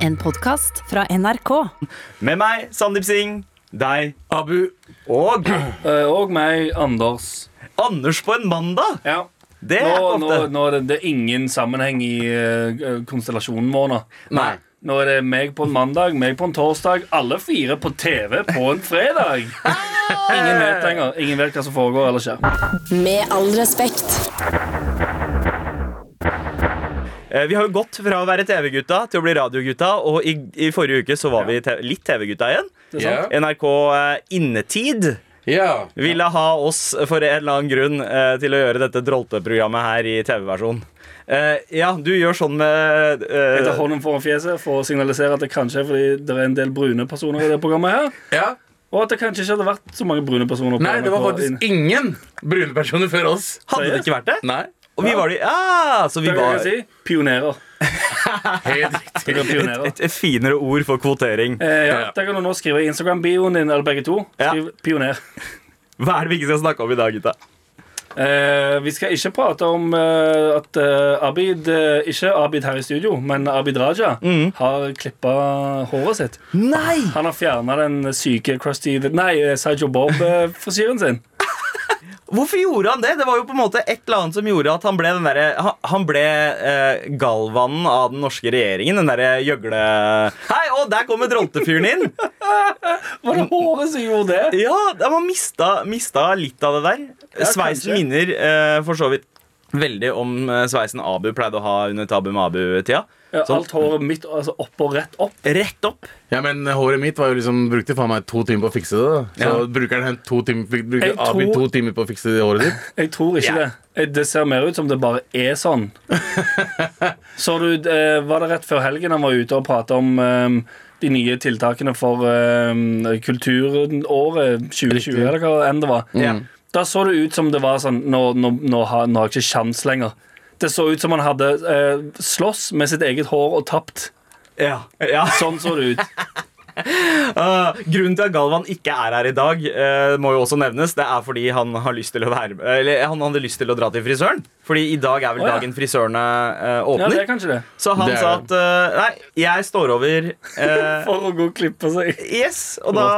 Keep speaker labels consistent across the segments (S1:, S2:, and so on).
S1: En podkast fra NRK.
S2: Med meg, Sandeep Singh, deg
S3: Abu
S2: og
S4: Eh, Og meg, Anders.
S2: Anders på en mandag.
S4: Ja.
S2: Det er
S4: Nå,
S2: ofte.
S4: nå, nå er det, det er ingen sammenheng i eh, konstellasjonen vår nå.
S2: Nei.
S4: Nå er det meg på en mandag, meg på en torsdag, alle fire på TV på en fredag. Ingen vet lenger. Ingen vet hva som foregår eller skjer.
S5: Med all respekt.
S2: Eh, Vi har jo gått fra å være TV-gutta til å bli radiogutta, og i, i forrige uke så var vi te litt TV-gutta igjen.
S4: Det er sant.
S2: NRK eh, Innetid
S3: Ja.
S2: ville ha oss for en eller annen grunn eh, til å gjøre dette drolteprogrammet her i TV-versjon. Eh, ja, du gjør sånn med eh,
S4: Jeg tar hånden foran fjeset for å signalisere at det kanskje er fordi det er en del brune personer i det programmet her.
S3: ja.
S4: Og at det kanskje ikke hadde vært så mange brune personer. på
S3: Nei, det var
S4: NRK
S3: faktisk
S4: inn-
S3: ingen brune personer før oss.
S2: Hadde det ikke vært det?
S3: Nei.
S2: Og vi var de Ja, så vi
S4: Det kan jeg
S2: var
S4: si. Pionerer.
S3: Helt riktig.
S4: Det kan pionerer.
S2: et, et finere ord for kvotering.
S4: Eh, ja,
S3: Ja.
S4: Det kan du nå skrive i Instagram-bioen din, eller begge to.
S2: Ja.
S4: Skriv pioner.
S2: Hva er det vi ikke skal snakke om i dag, gutta?
S4: Eh, vi skal ikke prate om eh, at eh, Abid eh, Ikke Abid her i studio, men Abid Raja har klippa håret sitt.
S2: Nei!
S4: Han har fjerna den syke Krusty the- Nei, eh, Sajo Bob-frisyren sin.
S2: Hvorfor gjorde han det? Det var jo på en måte et eller annet som gjorde at han ble, den derre- han- han ble eh, galvanen av den norske regjeringen. Den derre gjøgle... Hei, å, der kommer droltefyren inn!
S4: Var det håret som gjorde det?
S2: Ja, man mista, mista litt av det der. sveisen
S4: kanskje.
S2: minner eh, for så vidt veldig om eh, sveisen Abu pleide å ha under Tabu Mabu-tida.
S4: Ja,
S2: Sånn.
S4: alt håret mitt altså, opp og rett opp.
S2: Rett opp.
S3: Ja, men håret mitt var jo liksom, brukte faen meg to timer på å fikse det. da Så
S2: Ja.
S3: bruker han to timer Bruker
S4: Jeg
S3: Abi
S4: tror-
S3: to timer på å fikse det håret ditt?
S4: Jeg tror ikke det. Eh, Det ser mer ut som det bare er sånn. Så du, eh, var det rett før helgen han var ute og prata om eh, de nye tiltakene for eh, kulturåret 2020, eller hva enn det var?
S2: Ja.
S4: Da så det ut som det var sånn Nå, nå, nå, har, nå har jeg ikke sjans lenger. Det så ut som han hadde eh, slåss med sitt eget hår og tapt.
S2: Ja. ja.
S4: Sånn så det ut.
S2: Eh, grunnen til at Galvan ikke er her i dag, eh, må jo også nevnes. Det er fordi han, har lyst til å være, eller, eh, han hadde lyst til å dra til frisøren. Fordi i dag er vel
S4: Å, ja.
S2: dagen frisørene eh,
S4: Ja,
S2: åpner.
S4: det er kanskje det.
S2: så han
S3: Det er
S2: sa
S3: det.
S2: at eh, Nei, jeg står over. eh,
S4: For å gå og klippe seg.
S2: yes, og da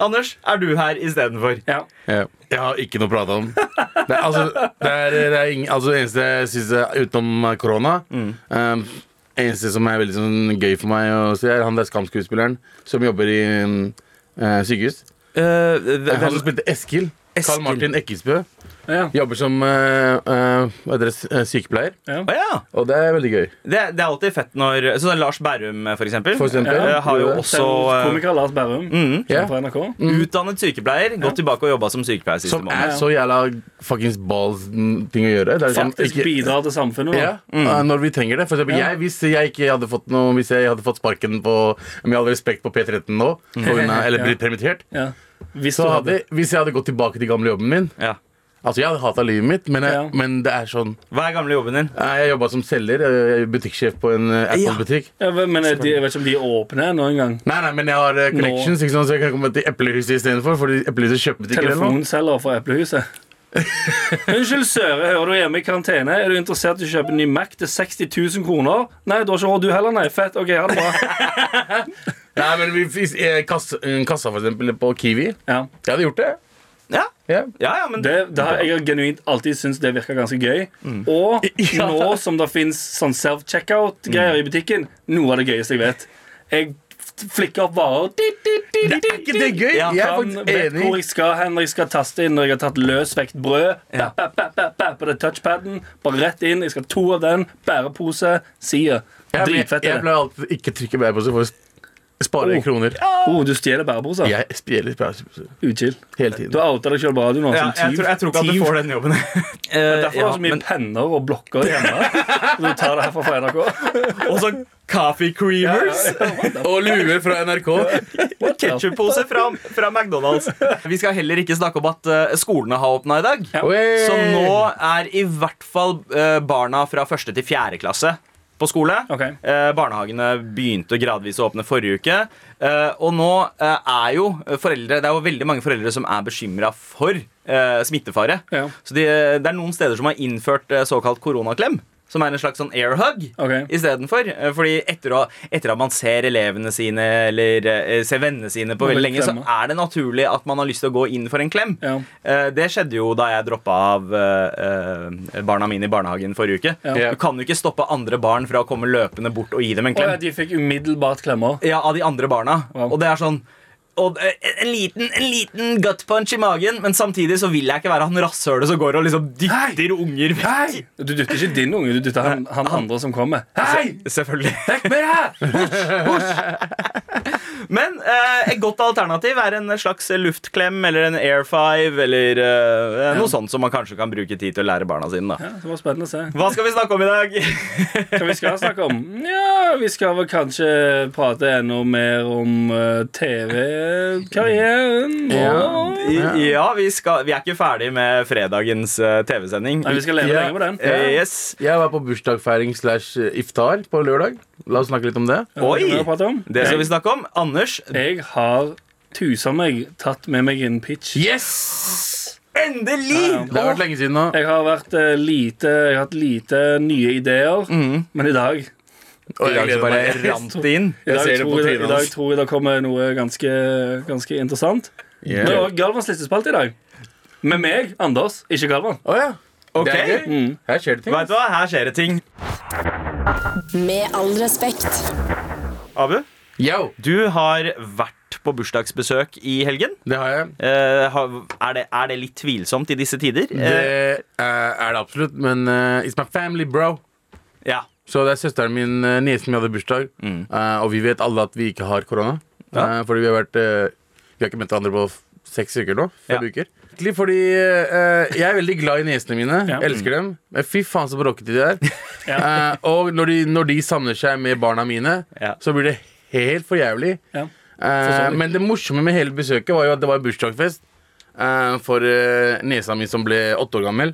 S2: Anders, er du her
S3: Eh,
S2: istedenfor?
S4: Ja.
S3: Ja. Jeg har ikke noe å prate om. Det er, altså, det, er, det, er ingen, altså, det eneste jeg syns utenom korona um, eneste som er veldig sånn, gøy for meg å se, er han der Skam-skuespilleren som jobber i um, eh, sykehus. Han som spilte Eskil.
S2: Eskil.
S3: Carl Martin Ekkesbø.
S4: Ja.
S3: Jobber som eh, eh, hva heter det, s- eh, sykepleier.
S4: Ja.
S2: Å ja.
S3: Og det er veldig gøy.
S2: det, det er alltid fett når så sånn Lars Berrum, for eksempel,
S3: For eksempel.
S2: eh, har jo
S3: Ja.
S2: også eh,
S4: Komiker Lars Berrum
S3: Ja.
S4: på NRK.
S2: utdannet sykepleier. Gått tilbake og jobba som sykepleier siste
S3: Mm. Som
S2: måned.
S3: er så jævla fuckings balls mm, ting å gjøre. Det er liksom
S4: Faktisk
S3: ikke-
S4: bidrar til samfunnet. Da.
S3: Ja, eh, når vi trenger det. For eksempel,
S4: Ja.
S3: jeg, hvis, jeg ikke hadde fått noe, hvis jeg hadde fått sparken på Med all respekt på P13 nå, på grunn av- eller
S4: Mm. Ja.
S3: blitt permittert
S4: Ja. Hvis
S3: så
S4: du hadde
S3: hadde, Hvis jeg hadde gått tilbake til gamle jobben min
S2: Ja.
S3: Altså, jeg hadde hata livet mitt, men, jeg,
S4: Ja.
S3: men det er sånn
S2: Hva er gamle jobben din?
S3: eh, Jeg jobba som selger, eh, butikksjef på en eh, Apple-butikk.
S4: ja, Men eh, de, jeg vet ikke om de er åpne noen gang.
S3: Nei, nei, men jeg har eh, connections, ikke sant, så jeg kan komme til Eplehuset istedenfor. Fordi Eplehuset kjøper butikker eller noe.
S4: Telefonselger fra Eplehuset. Unnskyld, Søre, hører du hjemme i karantene? Er du interessert i å kjøpe en ny Mac til 60 000 kroner? Nei, du har ikke råd du heller, nei. Fett. OK, ha det bra.
S3: Nei, men vi, hvis, eh, kassa, eh, kassa, for eksempel, på Kiwi.
S4: Ja.
S3: Jeg hadde gjort det.
S2: Ja,
S3: Ja.
S2: ja, ja men
S4: Det, det har jeg genuint alltid syntes det virka ganske gøy. Og
S3: Mm. Ja. Mm.
S4: nå som det fins sånn self-checkout-greier i butikken, noe av det gøyeste jeg vet. Jeg flikker opp varer. Dit, dit, dit, dit,
S3: Er ikke det gøy?
S2: Ja,
S3: jeg er
S4: Kan,
S3: faktisk
S4: vet hvor
S3: enig.
S4: jeg skal hen når jeg skal taste inn når jeg har tatt løsvekt brød. Bap, bap, bap, bap, bap, på det touchpaden. Bare rett inn. Jeg skal ha to av den. Bærepose. Sier.
S3: Jeg, jeg,
S4: Dritfett
S3: jeg
S4: er det.
S3: pleier alltid ikke trykke bærepose for å s- spare
S4: Oh.
S3: kroner.
S4: Oh, du stjeler bæreposer.
S3: Jeg spiller bærepose
S4: Uchill.
S3: hele
S4: Du
S3: tiden.
S4: har outa deg sjøl på radio nå.
S2: ja, jeg,
S4: som tyv.
S2: tror, jeg tror ikke at
S4: Tyv.
S2: du får den jobben.
S4: Derfor har du så mye penner og blokker hjemme. Så du tar det herfra fra NRK.
S2: Og sånn coffee creamers.
S3: Og luer fra NRK.
S2: Ketchup-pose fra, fra McDonald's. Vi skal heller ikke snakke om at eh, skolene har åpna i dag.
S4: Ja.
S3: Oi.
S2: Så nå er i hvert fall eh, barna fra første til fjerde klasse på skole.
S4: Ok.
S2: Eh, barnehagene begynte gradvis å åpne forrige uke. Eh, og nå eh, er jo foreldre Det er jo veldig mange foreldre som er bekymra for eh, smittefare.
S4: Ja.
S2: Så de, det er noen steder som har innført eh, såkalt koronaklem. som er en slags sånn airhug
S4: Ok.
S2: istedenfor. Eh, Fordi etter, å, etter at man ser elevene sine eller eh, ser vennene sine på
S4: Man vil
S2: veldig lenge, så
S4: klemme.
S2: er det naturlig at man har lyst til å gå inn for en klem.
S4: Ja.
S2: Eh, Det skjedde jo da jeg droppa av eh, eh, barna mine i barnehagen forrige uke.
S4: Ja.
S2: Du kan jo ikke stoppe andre barn fra å komme løpende bort og gi dem en
S4: Og
S2: klem.
S4: ja, de fikk umiddelbart klemmer.
S2: Ja, av de andre barna.
S4: Wow.
S2: Og det er sånn og eh, en liten, en liten gut punch i magen, men samtidig så vil jeg ikke være han rasshølet som går og liksom dytter unger vekk.
S4: Hei! Du dytter ikke din unge, du dytter han, han andre som kommer. Hei!
S2: Selvfølgelig.
S4: Vekk med deg!
S2: Men eh, et godt alternativ er en slags luftklem eller en air five eller eh, noe sånt som man kanskje kan bruke tid til å lære barna sine. da
S4: Ja, det var spennende å se.
S2: Hva skal vi snakke om i dag?
S4: Hva vi skal snakke om? Ja, vi skal vel kanskje prate enda mer om eh, TV-karrieren.
S3: Ja.
S4: vår.
S2: I- Ja, vi, skal, vi er ikke ferdig med fredagens eh, TV-sending.
S4: Nei, vi skal leve
S3: Ja.
S4: lenge på den.
S2: Eh, yes.
S3: Jeg var på bursdagsfeiring slash eh, iftar på lørdag. La oss snakke litt om det.
S2: Oi!
S4: Det,
S2: Det skal vi snakke om. Anders,
S4: Jeg har tusen meg tatt med meg en pitch.
S3: Yes!
S2: endelig!
S3: Det har vært lenge siden nå.
S4: Jeg har vært eh, lite Jeg har hatt lite nye ideer, men i dag
S3: Og
S2: I dag så bare rant det inn.
S4: i dag,
S3: ser det på
S4: tror, jeg,
S3: trynet
S4: I dag
S3: hans.
S4: tror jeg det kommer noe ganske, ganske interessant.
S3: Yeah.
S4: Det var Galvans listespalte i dag. Med meg, Anders, ikke Galvan.
S3: Å ja.
S2: Ok.
S3: Det er gøy. Mm. Her skjer det ting.
S2: Vet du hva, her skjer det ting.
S5: Med all respekt.
S2: Abu,
S3: Yo,
S2: du har vært på bursdagsbesøk i helgen.
S3: det har jeg.
S2: Eh, har- er, det, er det litt tvilsomt i disse tider?
S3: Det
S2: Eh,
S3: eh, er det absolutt, men eh, it's my family, bro.
S2: ja.
S3: Så det er søsteren min, eh, niesen min hadde bursdag, eh, og vi vet alle at vi ikke har korona.
S2: Mm. Ja.
S3: Eh, fordi vi har vært eh, Vi har ikke møtt hverandre på f- seks uker nå. Fem
S2: Ja.
S3: uker. Egentlig Fordi eh, jeg er veldig glad i niesene mine.
S4: Ja.
S3: Elsker dem. Men fy faen så bråkete de er.
S4: Ja.
S3: Eh, og når de, når de samler seg med barna mine,
S2: Ja.
S3: så blir det helt for jævlig.
S4: Ja.
S3: Eh,
S4: sånn.
S3: men det morsomme med hele besøket var jo at det var bursdagsfest eh, for eh, nesa mi som ble åtte år gammel.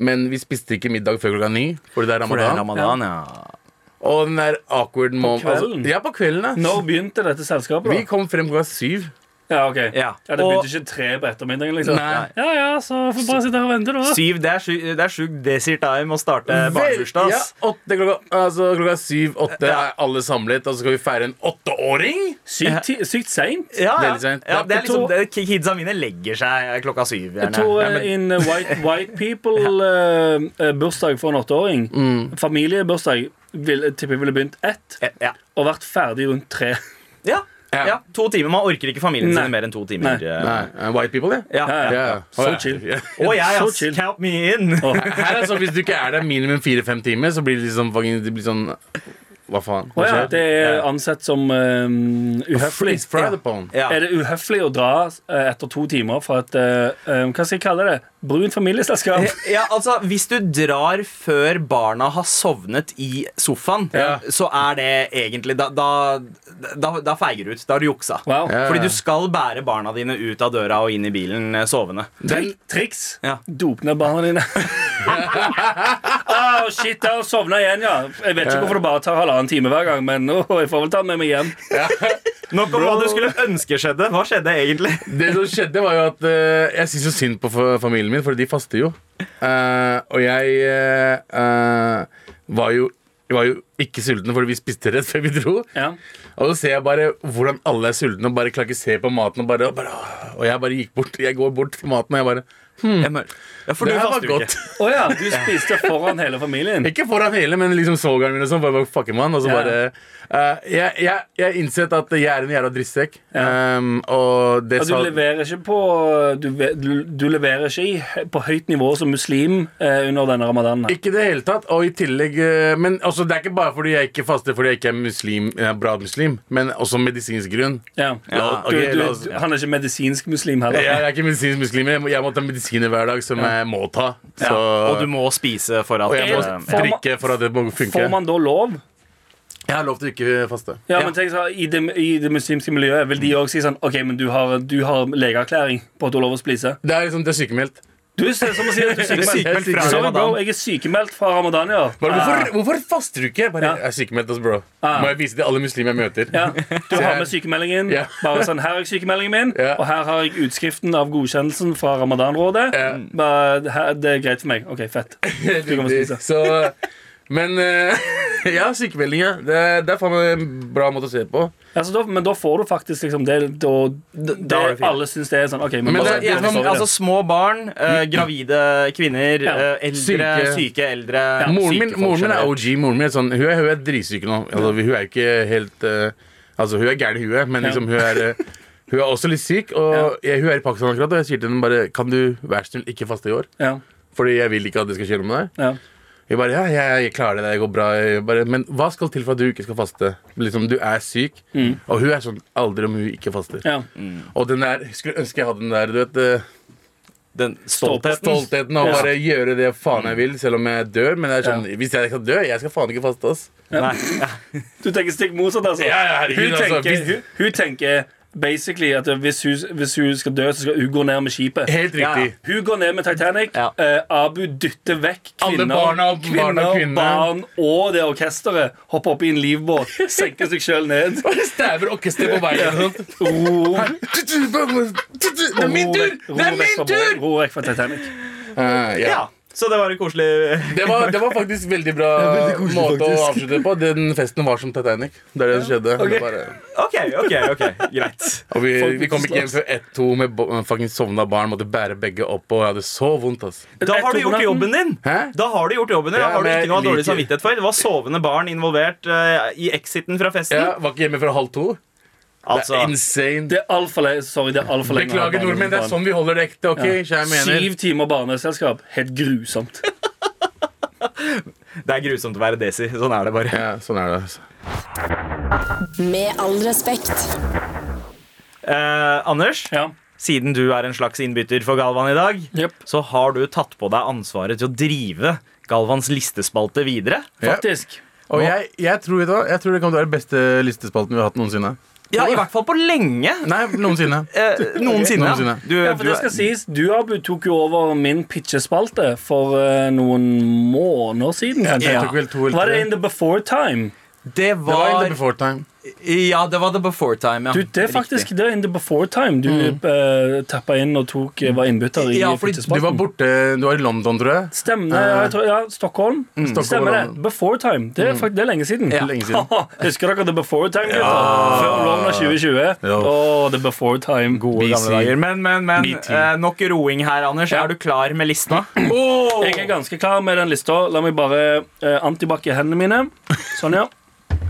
S3: Men vi spiste ikke middag før klokka ni. Fordi det er
S2: For det er
S3: ramadan.
S2: ramadan, ja.
S3: Og den der awkward moment
S4: kvelden?
S3: Altså, ja, på kvelden. da.
S4: Når begynte dette selskapet?
S3: Vi
S4: da?
S3: kom frem klokka syv.
S4: Ja, ok
S2: Ja.
S4: ja. Det begynte
S2: Og-
S4: ikke tre på ettermiddagen? liksom
S3: Nei.
S4: Ja ja, så får vi bare sitte her og vente, da.
S2: Syv, det er, sju- det er sjukt desert time å starte
S3: Vel,
S2: Eh, barnebursdag.
S3: Ja,
S2: ass.
S3: åtte, klokka, altså, klokka syv, åtte
S2: Ja.
S3: er alle samlet, og så skal vi feire en åtteåring?
S4: Sykt, ti- sykt seint.
S2: Ja, ja.
S3: Veldig sent.
S2: ja, det er
S4: Jeg
S2: liksom
S4: tror-
S2: det, Kidsa mine legger seg klokka syv.
S4: Jeg tror
S2: Gjerne.
S4: eh, in eh, white, white people eh, eh, bursdag for en åtteåring, familiebursdag, vil, jeg tipper jeg ville begynt ett
S2: Ja.
S4: og vært ferdig rundt tre.
S2: Ja.
S3: Ja.
S2: ja. To timer. Man orker ikke familien
S4: Nei.
S2: sin mer enn to timer.
S4: Nei.
S2: eh.
S3: Nei, eh, white people, det.
S2: Ja.
S4: Ja, ja.
S3: Ja.
S4: Så
S3: Å, ja.
S4: chill.
S3: Ja.
S2: Og jeg,
S4: Så
S2: ass.
S4: chill.
S2: Count me in.
S3: Her er det sånn, Hvis du ikke er der minimum fire-fem timer, så blir det liksom fucking, det blir sånn Hva faen?
S4: Å
S3: Hva
S4: ja,
S3: skjer?
S4: det er ansett som eh, uhøflig.
S3: Please, fry the bone.
S2: Ja.
S4: Er det uhøflig å dra eh, etter to timer fra et eh, eh, Hva skal jeg kalle det? Brunt familieselskap?
S2: Ja, altså, Hvis du drar før barna har sovnet i sofaen,
S3: Ja.
S2: så er det egentlig Da, da, da, da feiger du ut. Da har du juksa.
S4: Wow.
S3: Ja.
S2: Fordi du skal bære barna dine ut av døra og inn i bilen eh, sovende.
S4: Tri triks.
S2: Ja.
S4: Dop ned barna dine. Åh, shit, jeg har sovna igjen, ja. Jeg vet ikke hvorfor det bare tar halvannen time hver gang, men åh, jeg får vel ta den med meg hjem.
S2: Nok om hva du skulle ønske skjedde. Hva skjedde egentlig?
S3: Det som skjedde var jo at eh, Jeg synes jo synd på fa- familien min, for de faster jo. Eh, og jeg eh, eh, var, jo, var jo ikke sulten, for vi spiste rett før vi dro.
S4: Ja.
S3: Og så ser jeg bare hvordan alle er sultne og bare klarer ikke å se på maten. Og, bare, og, bare, og jeg bare gikk bort Jeg går bort til maten og jeg bare Mm.
S2: Jeg mør- Ja, for
S3: Det
S2: du
S3: her var
S2: faster jo
S3: godt.
S2: ikke.
S4: Å ja, du spiste foran hele familien.
S3: Ikke foran hele, men liksom svogeren min og sånn. Bare, bare fucker man, og så
S4: Ja.
S3: bare eh, jeg, jeg, jeg innsett at jeg er en jævla drittsekk. ehm, og det
S4: Og du
S3: sa
S4: leverer ikke på Du, ve- du, du leverer ikke i, på høyt nivå som muslim eh, under denne ramadanen. her.
S3: Ikke i det hele tatt. Og i tillegg eh, Men altså, det er ikke bare fordi jeg ikke faster fordi jeg ikke er muslim, jeg er bra muslim, men også medisinsk grunn.
S4: Ja.
S3: Ja,
S4: Du,
S3: ok,
S4: du,
S3: la oss-
S4: du, han er ikke medisinsk muslim heller.
S3: Jeg er ikke medisinsk muslim, jeg må, jeg må ta medisiner hver dag som jeg må ta. Så,
S2: Og du må spise for at
S3: og jeg må
S2: eh,
S4: Får man-
S3: drikke for at det må funke.
S4: Får man da lov?
S3: Jeg har lov til å ikke faste.
S4: Ja,
S2: Ja.
S4: men tenk så, i det, I det muslimske miljøet vil de òg si sånn OK, men du har, du har legeerklæring på at du har lov å spise.
S3: Det er liksom, det er sykemeldt.
S4: Du ser ut som å si at du er
S2: sykemeldt
S4: sykemeldt.
S2: fra
S4: Sorry, bro.
S2: Ramadan.
S4: Jeg er sykemeldt fra ramadan i år.
S3: Bare, hvorfor, hvorfor faster du ikke? Jeg Bare,
S4: Ja.
S3: jeg er sykemeldt, altså, bro.
S4: Ja.
S3: Må jeg vise til alle muslimer jeg møter.
S4: Ja, du
S3: Så
S4: har
S3: jeg-
S4: med sykemeldingen.
S3: Ja.
S4: Bare sånn, Her har jeg sykemeldingen min,
S3: Ja.
S4: og her har jeg utskriften av godkjennelsen fra Ramadanrådet.
S3: Ja.
S4: Bare, her- Det er greit for meg. OK, fett. Du kan få spise.
S3: Så, men eh, ja, sykemelding, ja. Det, er- det er faen meg en bra måte å se på.
S4: Altså, da, men da får du faktisk liksom det, da, det,
S2: da er det fint.
S4: alle syns det er sånn. ok, men,
S3: Men
S4: bare,
S2: Altså,
S3: det-
S2: gjerne,
S4: sorry,
S2: altså
S4: da.
S2: små barn, eh, gravide kvinner,
S4: Ja.
S2: eh, eldre, syke,
S3: Mm. Syke.
S2: eldre
S3: Moren
S2: syke
S3: min,
S2: folk
S3: moren min er
S2: generelt.
S3: OG. Moren min er sånn, hun, er, hun er dritsyk nå. Altså, hun er jo ikke helt eh, Altså, hun er gæren i huet, men
S4: Ja.
S3: liksom, hun er eh, hun er også litt syk, og jeg, hun er i Pakistan akkurat. Og jeg sier til henne bare Kan du vær så snill ikke faste i år?
S4: ja,
S3: Fordi jeg vil ikke at det skal skje noe med deg.
S4: ja.
S3: Jeg bare, ja, jeg, jeg klarer det, det går bra jeg bare, Men hva skal til for at du ikke skal faste? Liksom, Du er syk, og hun er sånn aldri om hun ikke faster.
S4: Mm. ja.
S2: Mm.
S3: Og den der, Skulle ønske jeg hadde den der du vet, eh,
S2: Den stoltheten.
S3: stoltheten av å
S4: Ja.
S3: bare gjøre det faen jeg vil, selv om jeg dør. Men det er sånn,
S4: Ja.
S3: hvis jeg skal dø, jeg skal faen ikke faste. ass
S2: Nei, ja.
S4: Du tenker stikk motsatt, altså?
S3: Ja, ja, herregud,
S4: hun,
S3: altså,
S4: tenker,
S3: hvis-
S4: hun, hun tenker basically at hvis hun, hvis hun skal dø, så skal hun gå ned med skipet.
S3: Helt
S2: Ja,
S3: riktig.
S4: Hun går ned med Titanic.
S2: Ja.
S4: eh, Abu dytter vekk
S3: Alle
S4: kvinner,
S3: barna og-
S4: kvinner,
S3: barna og kvinner.
S4: barn og det orkesteret. Hopper opp i en livbåt, senker seg sjøl ned.
S3: Bare Stæver orkesteret på veien. og sånt.
S4: Ro,
S3: Det er min tur!
S4: ro
S3: Det er
S4: vekk
S3: min
S4: fra båten,
S3: tur!
S4: Ro vekk fra Titanic.
S3: Eh, ja.
S2: ja. Så det var en koselig
S3: Det var, det var faktisk veldig bra måte å avslutte på. Den festen var som Titanic. Det er det som skjedde.
S4: ok.
S3: Det bare,
S2: OK, ok, ok, greit.
S3: og vi,
S4: Folk
S3: vi kom ikke hjem før ett-to med bo- fucking sovna barn. Måtte bære begge opp, og jeg hadde så vondt. ass
S2: Da har du gjort jobben din!
S3: Hæ?
S2: Da har du gjort jobben din,
S3: Ja,
S2: da har du
S3: men jeg
S2: ikke noe dårlig
S3: liker-
S2: samvittighet for. Det var sovende barn involvert eh, i exiten fra festen.
S3: Jeg var ikke hjemme før halv to. det
S2: Altså,
S3: er insane.
S4: Det er altfor lenge. Sorry, det er alt for lenge.
S3: Beklager, nordmenn. Det er sånn vi holder det ekte. ok? Så jeg mener
S4: Syv timer barneselskap. Helt grusomt.
S2: det er grusomt å være Desi. Sånn er det bare.
S3: ja, Sånn er det. altså.
S5: Med all respekt.
S2: Eh, Anders,
S4: Ja.
S2: siden du er en slags innbytter for Galvan i dag,
S4: Jep.
S2: så har du tatt på deg ansvaret til å drive Galvans listespalte videre.
S4: Faktisk.
S3: Og jeg, jeg, tror, vet du hva? jeg tror det kommer til å være den beste listespalten vi har hatt noensinne.
S2: Ja, i hvert fall på lenge.
S3: Nei, noensinne.
S2: Eh, noensinne.
S3: Noensinne.
S2: Du,
S4: Ja, for
S2: du
S4: det
S2: er-
S4: skal sies, Du Abu, tok jo over min pitchespalte for eh, noen måneder siden. kanskje.
S2: Ja.
S3: Jeg tok vel to eller
S4: Var det
S3: tre.
S4: in the before time?
S2: det
S3: Det var in
S2: var
S3: the before time.
S2: Ja, det var the before time, ja.
S4: Du, det er faktisk det er in the before time. Du eh, tappa inn og tok, eh, var innbytter
S2: Mm.
S4: i
S2: Ja, fordi
S4: pitchespalten.
S3: Du var borte Du var i London, tror jeg.
S4: Stemmer,
S2: Ah.
S4: ja, jeg tror, ja, Stockholm.
S2: Mm.
S3: Stockholm
S4: Stemmer
S3: og
S4: det.
S3: London.
S4: Before time. Det er, fakt- det er lenge siden.
S3: Ja. Lenge siden.
S4: Husker dere The Before Time, gutter? Før London 2020.
S3: Ja.
S4: Åh, The Before Time.
S2: Gode gamle
S3: BC.
S2: dager. Men, men, men
S3: BT.
S2: eh, nok roing her, Anders.
S4: Ja.
S2: Er du klar med lista?
S4: Jeg er ganske klar med den lista. La meg bare eh, antibac i hendene mine. Sånn, ja.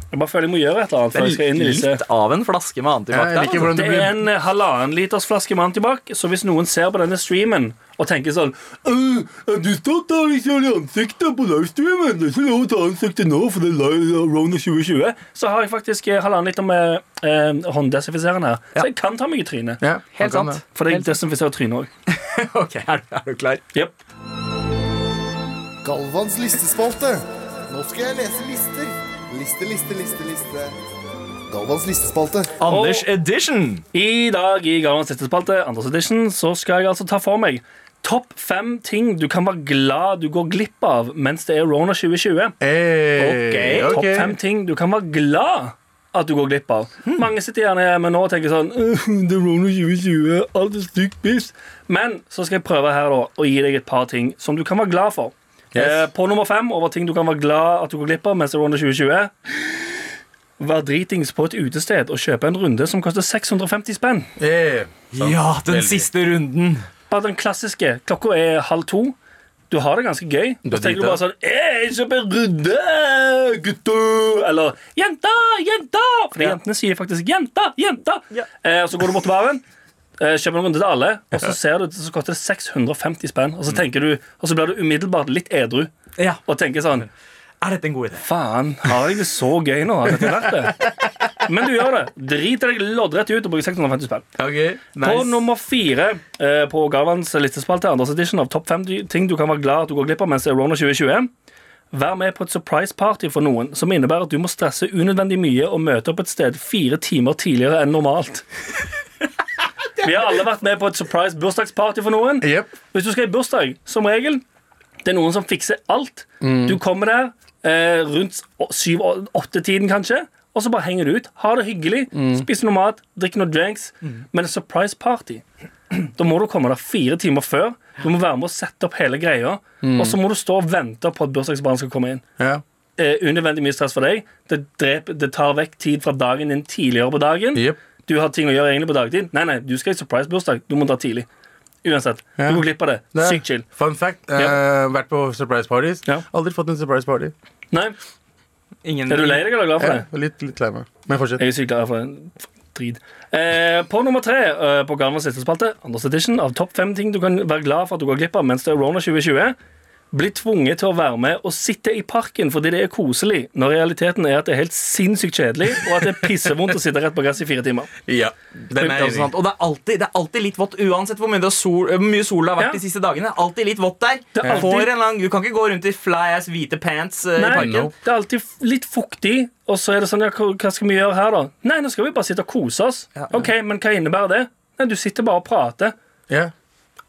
S4: Jeg bare føler jeg må gjøre et eller annet. før jeg skal inn i disse
S2: Litt av en flaske med antibac
S3: Jeg
S2: der.
S3: liker
S2: altså.
S3: hvordan du
S4: Det er
S3: blir
S4: en eh, halvannen liters flaske med antibac, så hvis noen ser på denne streamen og tenker sånn «Øh, Er du stått der liksom i ansiktet på livestreamen? Det er ikke lov å ta ansiktet nå, for det er live Rona 2020. Så har jeg faktisk eh, halvannen liter med eh, hånddesinfiserende her, så jeg kan ta meg i trynet.
S3: ja, han
S2: Helt
S3: kan
S2: sant.
S3: det.
S4: For jeg desinfiserer trynet òg.
S2: altså. Ok, er, du- er du klar?
S4: Yep.
S6: Galvans listespalte. Nå skal jeg lese lister. Liste, liste, liste, liste. Galvans listespalte.
S2: Anders
S4: Og-
S2: edition.
S4: I dag i Garlands siste spalte, Anders Edition, så skal jeg altså ta for meg topp fem ting du kan være glad du går glipp av mens det er Rona 2020.
S3: Hey,
S2: Ok,
S3: ok.
S4: Topp fem ting du kan være glad at du går glipp av. Mange sitter gjerne hjemme nå og tenker sånn «Øh, Det er Rona 2020, alt er stygt piss. Men så skal jeg prøve her da å gi deg et par ting som du kan være glad for. Eh, på nummer fem over ting du kan være glad at du går glipp av mens det er Rona 2020. Vær dritings på et utested og kjøpe en runde som koster 650 spenn.
S3: Hey.
S2: Ja, den siste runden.
S4: Bare den klassiske. Klokka er halv to. Du har det ganske gøy. Så
S3: Du er
S4: tenker du
S3: drita.
S4: bare sånn «Eh, 'Jeg kjøper rydde, gutter!' Eller 'Jenta, jenta!' For jentene sier faktisk 'jenta, jenta'.
S2: Ja.
S4: Eh, og så går du bort til baren, eh, kjøper en runde til alle, og så ser du så koster det 650 spenn. Og så, tenker du, og så blir du umiddelbart litt edru
S2: Ja,
S4: og tenker sånn
S2: Er dette en god idé?
S4: Faen, har jeg det så gøy nå? Har dette vært det? Men du gjør det. Drit deg loddrett ut og bruk 650 spenn.
S3: Ok,
S4: På
S3: nice.
S4: nummer fire eh, på Galvans listespalte Anders edition av topp fem ty- ting du kan være glad at du går glipp av mens det er Rona 2020. Vær med på et surprise party for noen, som innebærer at du må stresse unødvendig mye og møte opp et sted fire timer tidligere enn normalt. Vi har alle vært med på et surprise bursdagsparty for noen.
S3: Jepp.
S4: Hvis du skal i bursdag, som regel Det er noen som fikser alt. Du kommer der eh, rundt syv-åtte-tiden, kanskje. Og så bare henger du ut. Har det hyggelig, spiser noe mat, drikker noe drinks. Men en surprise party Da må du komme der fire timer før. Du må være med og sette opp hele greia. Og så må du stå og vente på at bursdagsbarnet skal komme inn.
S3: Ja.
S4: Eh, unødvendig mye stress for deg. Det, dreper, det tar vekk tid fra dagen din tidligere på dagen.
S3: Jep.
S4: Du har ting å gjøre egentlig på dagtid. Nei, nei, du skal i surprise-bursdag. Du må dra tidlig. Uansett.
S3: Ja.
S4: Du går glipp av det.
S3: Det er-
S4: Sykt chill.
S3: Fun fact. eh, vært på surprise parties.
S4: Ja.
S3: Aldri fått en surprise party.
S4: Nei,
S2: Ingen,
S4: Er du lei deg eller glad for
S3: Ja,
S4: det?
S3: litt litt lei meg. Men fortsett.
S4: Jeg er sykt glad for det. Drit. Eh, på nummer tre eh, på Galvans siste spalte, Anders Edition, av topp fem ting du kan være glad for at du går glipp av mens det er Rona 2020, bli tvunget til å være med og sitte i parken fordi det er koselig, når realiteten er at det er helt sinnssykt kjedelig, og at det er pissevondt å sitte rett på gress i fire timer.
S3: Ja, den er
S2: Det er
S3: jeg
S2: sant.
S3: enig i.
S2: Og det er, alltid, det er alltid litt vått, uansett hvor mye det, er sol, hvor mye sol det har vært
S4: Ja.
S2: de siste dagene. Alltid litt vått der.
S4: Det er alltid-
S2: Får en lang, du kan ikke gå rundt i fly ass hvite pants eh, i
S4: Nei,
S2: parken.
S3: Nope.
S4: det er alltid f- litt fuktig, og så er det sånn, ja, hva hva skal vi gjøre her da? Nei, nå skal vi bare sitte og kose oss.
S2: Ja.
S4: Ok, men hva innebærer det? Nei, du sitter bare og prater.
S3: Ja.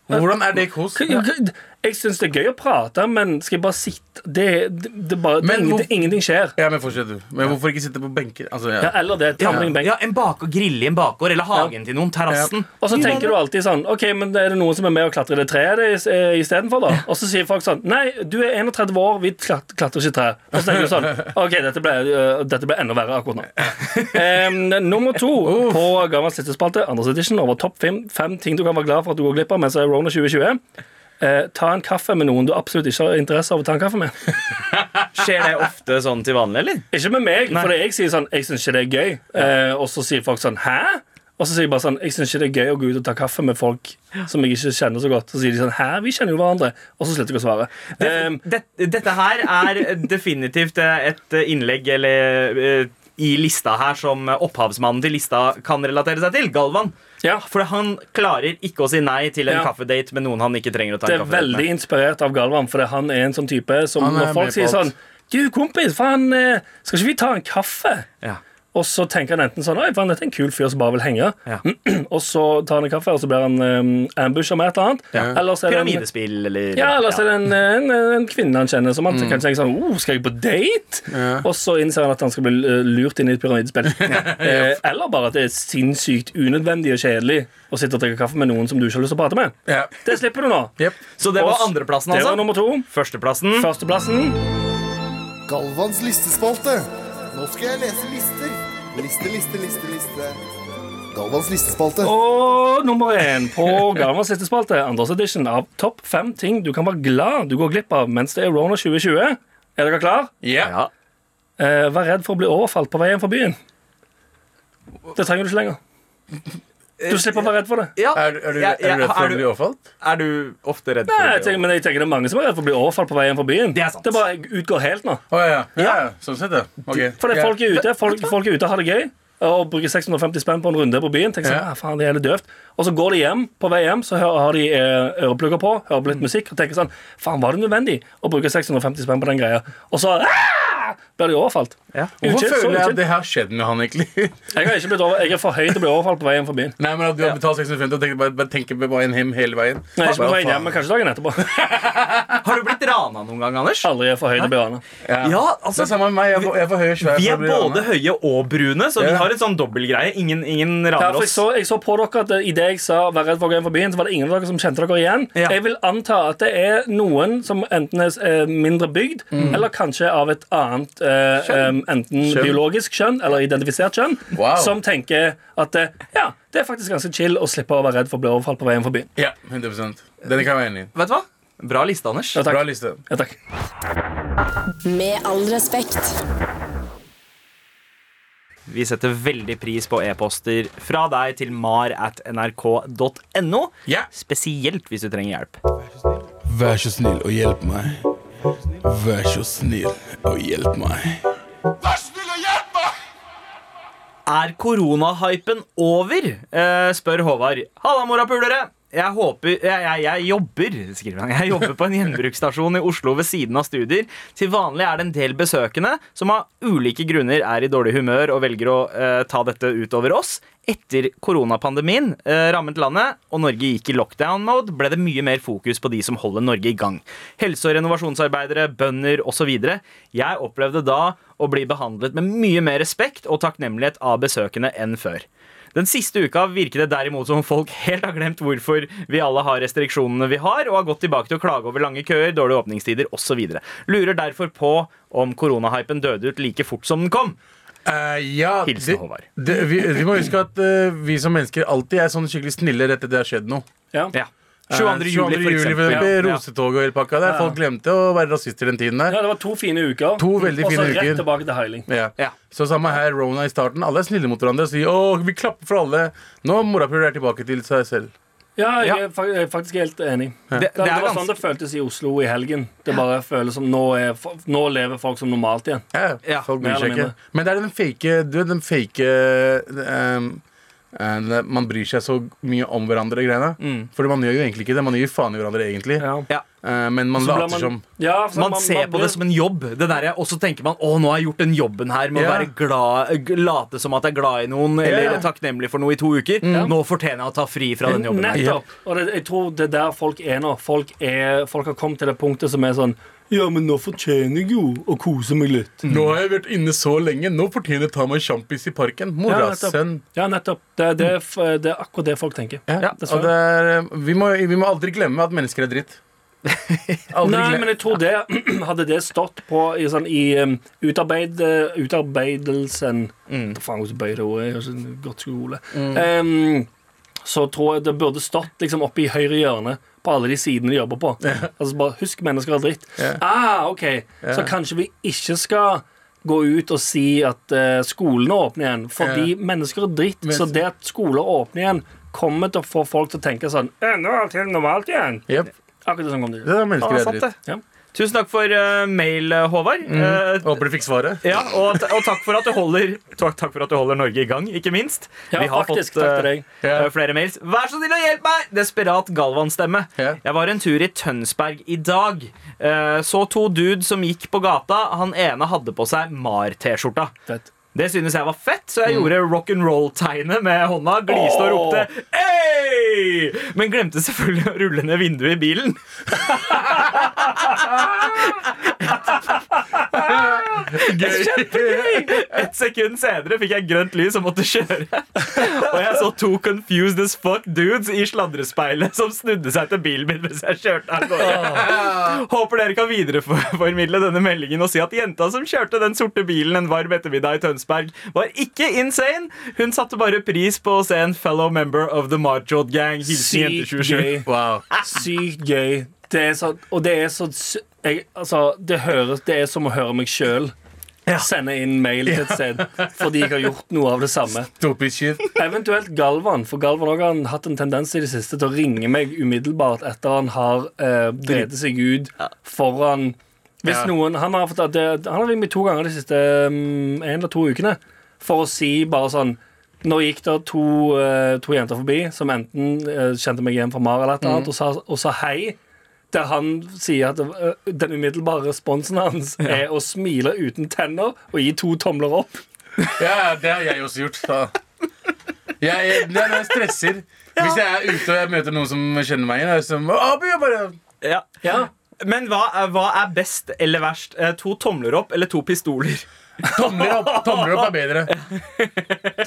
S3: Hvordan er det kos?
S4: K- k- Jeg syns det er gøy å prate, men skal jeg bare sitte Det, det, det, er bare, det, er
S3: Men
S4: ingenting,
S3: hvor-
S4: ingenting skjer.
S3: Ja, men fortsett du. Men hvorfor ikke sitte på benker? Altså, ja.
S4: Ja, eller det.
S2: Ja,
S4: Tamling benk.
S2: ja, en bak grille i en bakgård, eller hagen til noen. Terrassen.
S4: Og så tenker du alltid sånn OK, men er det noen som er med og klatrer i det treet i- eh, istedenfor, da? Og så sier folk sånn Nei, du er 31 år, vi klat- klatrer ikke i trær. Og så tenker du sånn OK, dette ble, eh, dette ble enda verre akkurat nå. Em, nummer to på Gammals listespalte, Anders Edition, over topp fem, fem ting du kan være glad for at du går glipp av mens det er Rona 2020. Eh, ta en kaffe med noen du absolutt ikke har interesse av å ta en kaffe med.
S2: Skjer det ofte sånn til vanlig, eller?
S4: Ikke med meg, for jeg sier sånn Jeg syns ikke det er gøy. Eh, og så sier folk sånn Hæ? Og så sier jeg bare sånn Jeg syns ikke det er gøy å gå ut og ta kaffe med folk som jeg ikke kjenner så godt. Så sier de sånn Hæ, vi kjenner jo hverandre. Og så slutter jeg å svare. Eh,
S2: Dette, Um, dette her er definitivt eh, et innlegg eller eh, i lista her som opphavsmannen til lista kan relatere seg til. Galvan.
S4: ja,
S2: For han klarer ikke å si nei til en
S4: Ja.
S2: kaffedate med noen han ikke trenger å ta
S4: det
S2: en
S4: er
S2: kaffedate
S4: veldig
S2: med.
S4: inspirert av Galvan, for det- han er en sånn type som
S3: Han er
S4: når folk
S3: med på
S4: sier sånn
S3: alt.
S4: Du, kompis, faen, eh, skal ikke vi ta en kaffe?
S2: Ja.
S4: Og så tenker han enten sånn Oi, faen, dette er en kul fyr som bare vil henge.
S2: Ja.
S4: Og så tar han en kaffe, og så blir han um, ambusha med et eller annet.
S3: Ja.
S4: Eller så er det en-
S2: Pyramidespill eller
S4: Ja, eller så er det en, en, en kvinne han kjenner som han
S2: Mm.
S4: kan tenke sånn oh, Skal jeg på date?
S3: Ja.
S4: Og så innser han at han skal bli eh, lurt inn i et pyramidespill. Eh, Eller bare at det er sinnssykt unødvendig og kjedelig å sitte og drikke kaffe med noen som du ikke har lyst til å prate med.
S3: Ja.
S4: Det slipper du nå.
S3: Jep.
S2: Så det var
S4: Oss-
S2: andreplassen,
S4: Det var
S2: altså?
S4: nummer to.
S2: Førsteplassen.
S4: Førsteplassen.
S6: Galvans listespalte. Nå skal jeg lese lister. Liste, liste, liste, liste. Galvans listespalte.
S4: Og nummer én på Garvans siste spalte, Anders Edition, av Topp fem ting du kan være glad du går glipp av mens det er Rona 2020. Er dere klar?
S3: Ja.
S2: Ja.
S4: Eh, vær redd for å bli overfalt på veien fra byen. Det trenger du ikke lenger. Du slipper å være redd for det.
S2: Ja.
S3: Er, er, du,
S2: Ja,
S3: er du
S2: ja,
S3: redd for
S2: er
S3: å
S2: du-
S3: bli overfalt?
S2: Er du ofte redd
S4: Nei,
S2: for
S4: jeg tenker, men jeg tenker det er mange som er redd for å bli overfalt på veien fra byen.
S2: Det er sant.
S4: bare utgår helt nå.
S3: Å ja. ja. ja. Sånn sett, ja. Ok.
S4: For det,
S3: Ja.
S4: folk er ute, folk, folk er ute og har det gøy. Og bruker 650 spenn på en runde på byen. Tenker sånn,
S3: Ja.
S4: ah, faen, det er jævlig døvt Og så går de hjem, på vei hjem så hø- har de eh, øreplugger på, hører
S3: Mm.
S4: på litt musikk og tenker sånn Faen, var det nødvendig å bruke 650 spenn på den greia? Og så ah, blir de overfalt.
S2: Ja.
S3: Hvorfor
S4: Uchill, så
S3: føler jeg
S4: uchill.
S3: at det her skjedde med han, egentlig?
S4: Jeg, har ikke blitt over, jeg er for høy til å bli overfalt på veien fra byen.
S3: Nei, men at du har betalt 650 og tenker bare, bare tenker på veien hjem hele veien.
S4: Nei, ikke på
S3: Bare,
S4: veien hjem, men
S3: faen.
S4: kanskje dagen etterpå.
S2: det? Har du blitt rana noen gang, Anders?
S4: Aldri er for høy til å bli rana.
S3: Ja.
S2: Ja, altså,
S3: det er samme med meg. Jeg er for- Jeg er for høy og svær.
S2: Vi
S3: for å
S2: er
S3: bli ranet.
S2: både høye og brune, så vi
S3: Ja.
S2: har en sånn dobbeltgreie. Ingen, ingen
S4: Ja,
S2: raner
S4: for jeg
S2: oss.
S4: så, jeg så på dere at eh, i det jeg sa 'vær redd for å gå inn for byen', så var det ingen av dere som kjente dere igjen.
S2: Ja.
S4: Jeg vil anta at det er noen som enten er eh, mindre bygd, eller kanskje av et annet eh, em, Enten
S3: Mm. Kjønn.
S4: biologisk kjønn eller identifisert kjønn,
S3: Wow.
S4: som tenker at eh, ja, det er faktisk ganske chill å slippe å være redd for å bli overfalt på veien for byen.
S3: Ja, 100 Denne kan jeg være enig i.
S2: Vet du hva? Bra liste, Anders.
S4: Ja, takk.
S3: Bra liste.
S4: Ja, takk.
S5: Med all respekt.
S2: Vi setter veldig pris på e-poster fra deg til mar at nrk.no.
S3: Ja.
S2: Spesielt hvis du trenger hjelp.
S7: Vær så snill og hjelp meg. Vær så snill og hjelp meg.
S2: Er koronahypen over? Eh, spør Håvard. Halla, morapulere. jeg håper jeg, jeg, jeg jobber, skriver han. Jeg jobber på en gjenbruksstasjon i Oslo ved siden av studier. Til vanlig er det en del besøkende som av ulike grunner er i dårlig humør og velger å eh, ta dette utover oss. Etter koronapandemien eh, rammet landet og Norge gikk i lockdown-mode, ble det mye mer fokus på de som holder Norge i gang. Helse- og renovasjonsarbeidere, bønder osv. Jeg opplevde da å bli behandlet med mye mer respekt og takknemlighet av besøkende enn før. Den siste uka virker det derimot som om folk helt har glemt hvorfor vi alle har restriksjonene vi har, og har gått tilbake til å klage over lange køer, dårlige åpningstider osv. Lurer derfor på om koronahypen døde ut like fort som den kom.
S3: Eh, ja,
S2: Hilsen
S3: det-
S2: Håvard.
S3: Det, vi, vi må huske at eh, vi som mennesker alltid er sånn skikkelig snille rett etter det har skjedd noe.
S4: Ja.
S2: Ja.
S3: Eh,
S2: 22. juli, for eksempel.
S3: eksempel,
S2: Ja.
S3: Rosetoget og hele pakka der.
S4: Ja.
S3: Folk glemte å være rasister den tiden
S4: Ja,
S3: der.
S4: det var to fine uker.
S3: To veldig
S4: og så
S3: fine uker.
S4: rett tilbake til heiling.
S3: Ja.
S2: Ja.
S3: Så samme her, Rona i starten. Alle er snille mot hverandre og sier 'Å, vi klapper for alle'. Nå morapuler er tilbake til seg selv.
S4: Ja, jeg
S2: Ja.
S4: er fak- jeg er faktisk helt enig.
S2: Det-
S4: Det,
S2: det er
S4: det var
S2: ganske-
S4: sånn det føltes i Oslo i helgen. Det bare føles som nå, er, fo- nå lever folk som normalt igjen.
S3: Ja,
S2: Ja,
S3: folk
S4: mer
S3: bryr seg
S4: eller
S3: ikke.
S4: mindre.
S3: Men det er den fake Du vet den fake ehm, eh, den der- Man bryr seg så mye om hverandre greiene. Fordi man gjør jo egentlig ikke det. Man gir faen i hverandre egentlig.
S2: Ja.
S3: Eh, men man
S4: Så blir
S3: later som.
S4: ja, så
S2: Man ser på
S4: blir-
S2: det som en jobb, det derre, og så tenker man å, nå har jeg gjort den jobben her med å
S3: Ja.
S2: være glad, g- late som at jeg er glad i noen eller
S3: Ja.
S2: takknemlig for noe i to uker. Nå fortjener jeg å ta fri fra den jobben. her
S4: Nettopp. Og det, jeg tror det er der folk er nå. Folk, er, folk har kommet til det punktet som er sånn Ja, men nå fortjener jeg jo å kose meg litt.
S2: Mm.
S3: Nå har jeg vært inne så lenge. Nå fortjener jeg å ta meg en sjampis i parken.
S4: Ja,
S3: Mora,
S4: nettopp.
S3: sønn.
S4: Ja, nettopp. Det, er- det, er f- det er akkurat det folk tenker.
S3: Ja, og det
S4: dessverre.
S3: er, eh, vi, må, vi må aldri glemme at mennesker er dritt. Aldri
S4: Nei,
S3: glem-
S4: men jeg tror det hadde det stått på i, sånn, i um, utarbeid, eh, utarbeidelsen
S3: Mm.
S4: Hva faen hvordan bøyer det ordet? Jeg har ikke en godt skole. Um, så tror jeg det burde stått liksom, oppe i høyre hjørne på alle de sidene de jobber på. Altså bare Husk mennesker er dritt. Ah, ok Så kanskje vi ikke skal gå ut og si at eh, skolene åpner igjen, fordi mennesker er dritt.
S3: Men-
S4: Så det at skoler åpner igjen, kommer til å få folk til å tenke sånn «Eh, Nå er alt helt normalt igjen.
S3: Jep,
S4: Akkurat sånn kom det ut.
S3: det er
S2: Ja,
S3: mennesker
S2: det
S3: er
S2: er sant,
S3: dritt.
S2: det.
S4: Ja.
S2: Tusen takk for eh, mail, eh, Håvard.
S4: Mm.
S2: Eh,
S3: Håper du fikk svaret.
S2: Ja, og, t- og takk for at du holder Takk, takk for at du holder Norge i gang, ikke minst.
S4: Ja, faktisk, takk til deg.
S2: eh, eh, flere mails. Vær så snill å hjelpe meg! Desperat Galvan-stemme.
S3: Ja.
S2: Jeg var en tur i Tønsberg i dag. Eh, så to dudes som gikk på gata. Han ene hadde på seg MAR-T-skjorta.
S4: Fett.
S2: Det synes jeg var fett, så jeg gjorde rock'n'roll-tegnet med hånda, gliste og
S4: Mm.
S2: ropte
S4: Åh.
S2: Ei! Men glemte selvfølgelig å rulle ned vinduet i bilen. Kjempegøy! Et sekund senere fikk jeg grønt lys og måtte kjøre. Og jeg så to confused as fuck dudes i sladrespeilet som snudde seg til bilen min mens jeg kjørte av
S4: Ah.
S2: gårde. Håper dere kan videreformidle denne meldingen og si at jenta som kjørte den sorte bilen en varm ettermiddag i Tønsberg, var ikke insane. Hun satte bare pris på å se en fellow member of the Marchod Gang. Hilsen
S4: Sykt
S2: jente 27.
S4: gøy.
S3: Wow.
S4: Sykt gøy. Det er så, og det er så sy- jeg, altså, det, høres, det er som å høre meg sjøl sende inn mail til et sted fordi jeg har gjort noe av det samme.
S3: Stupid shit.
S4: Eventuelt Galvan, for Galvan også har hatt en tendens i det siste til å ringe meg umiddelbart etter han har eh, drevet seg ut foran Hvis
S3: Ja.
S4: noen Han har, fått- det, han har ringt meg to ganger de siste mm, en eller to ukene for å si bare sånn Nå gikk det to, eh, to jenter forbi som enten eh, kjente meg igjen fra Mar eller et eller annet, og, sa, og sa hei. Der han sier at eh, den umiddelbare responsen hans er å smile uten tenner og gi to tomler opp.
S3: Ja, det har jeg også gjort. Da. Jeg, jeg, det er når jeg stresser. Hvis jeg er ute og jeg møter noen som kjenner meg igjen, er det som Abu, jeg bare
S2: Ja.
S4: Ja,
S2: Men hva er, hva er best eller verst? Eh, To tomler opp eller to pistoler?
S3: Tomler opp. Tomler opp er bedre.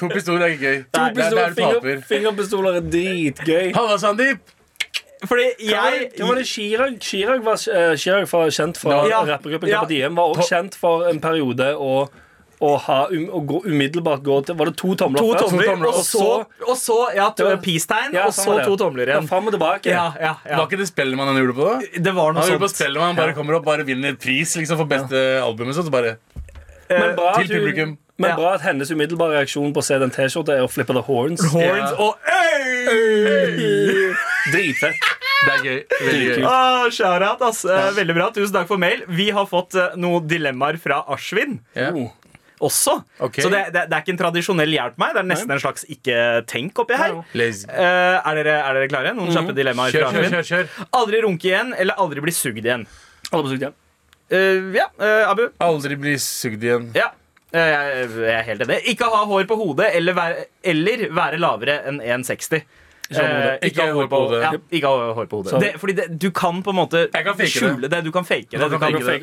S3: To pistoler er ikke gøy.
S4: To
S3: Det er der du
S4: pistoler, finger,
S3: taper.
S4: fingerpistoler er dritgøy.
S3: Halla, Sandeep.
S2: Fordi
S4: Hva var
S2: jeg
S4: det- hva var det Chirag Chirag var eh, Chirag var kjent fra
S2: Ja.
S4: rappergruppen
S2: Ja.
S4: Carpe Diem. Var også kjent for en periode å, å, ha, um, å gå, umiddelbart gå til Var det to tomler
S2: To
S4: først?
S2: tomler, og
S4: og
S2: så, og så ja, to-
S4: Det var-
S2: peace-tegn,
S4: Ja,
S2: og så
S4: sånn var det.
S2: to tomler
S4: Ja,
S2: igjen.
S4: fram og tilbake.
S2: Ja, ja, ja.
S3: Var ikke det Spellemann han gjorde på? da?
S2: Det var noe
S3: Han gjorde på
S2: sånt.
S3: Spellemann. Han bare kommer opp, bare vinner pris liksom, for beste albumet. Sånn, så bare
S4: Men, bra at
S3: til
S4: hun-
S3: publikum.
S4: men
S2: eh, Ja.
S4: bra at hennes umiddelbare reaksjon på å se den T-skjorta er å flippe the horns.
S2: Horns
S3: Ja.
S2: og øy!
S4: Dritfett.
S3: Det er gøy. Veldig gøy.
S2: Ah, Shout-out, ass. Eh, Veldig bra. Tusen takk for mail. Vi har fått eh, noen dilemmaer fra Ashwin.
S3: Ja.
S4: Oh.
S2: også.
S3: Ok.
S2: Så det, det, det er ikke en tradisjonell hjelp meg. Det er nesten en slags ikke-tenk oppi her.
S3: Les-
S2: Eh, er, dere, er dere klare? Noen kjappe dilemmaer?
S3: Kjør,
S2: fra
S3: kjør,
S2: Arvin?
S3: kjør, kjør.
S2: Aldri runke igjen, eller aldri bli sugd igjen.
S4: Alle på sykehjem.
S2: Eh, ja, eh, Abu?
S3: Aldri bli sugd igjen.
S2: Ja. Eh, Jeg jeg er helt enig. Ikke ha hår på hodet eller være, eller være lavere enn 1,60.
S4: ha hår på hodet.
S2: Eh,
S3: Ikke ha hår på hodet.
S2: Ja, ikke ha hår på hodet.
S4: Så-
S2: Det, fordi det, du kan på en måte
S3: Jeg kan fake det.
S2: skjule det. Du kan fake det. ta
S4: kan fake det. Hodet kan
S2: implants.
S4: fake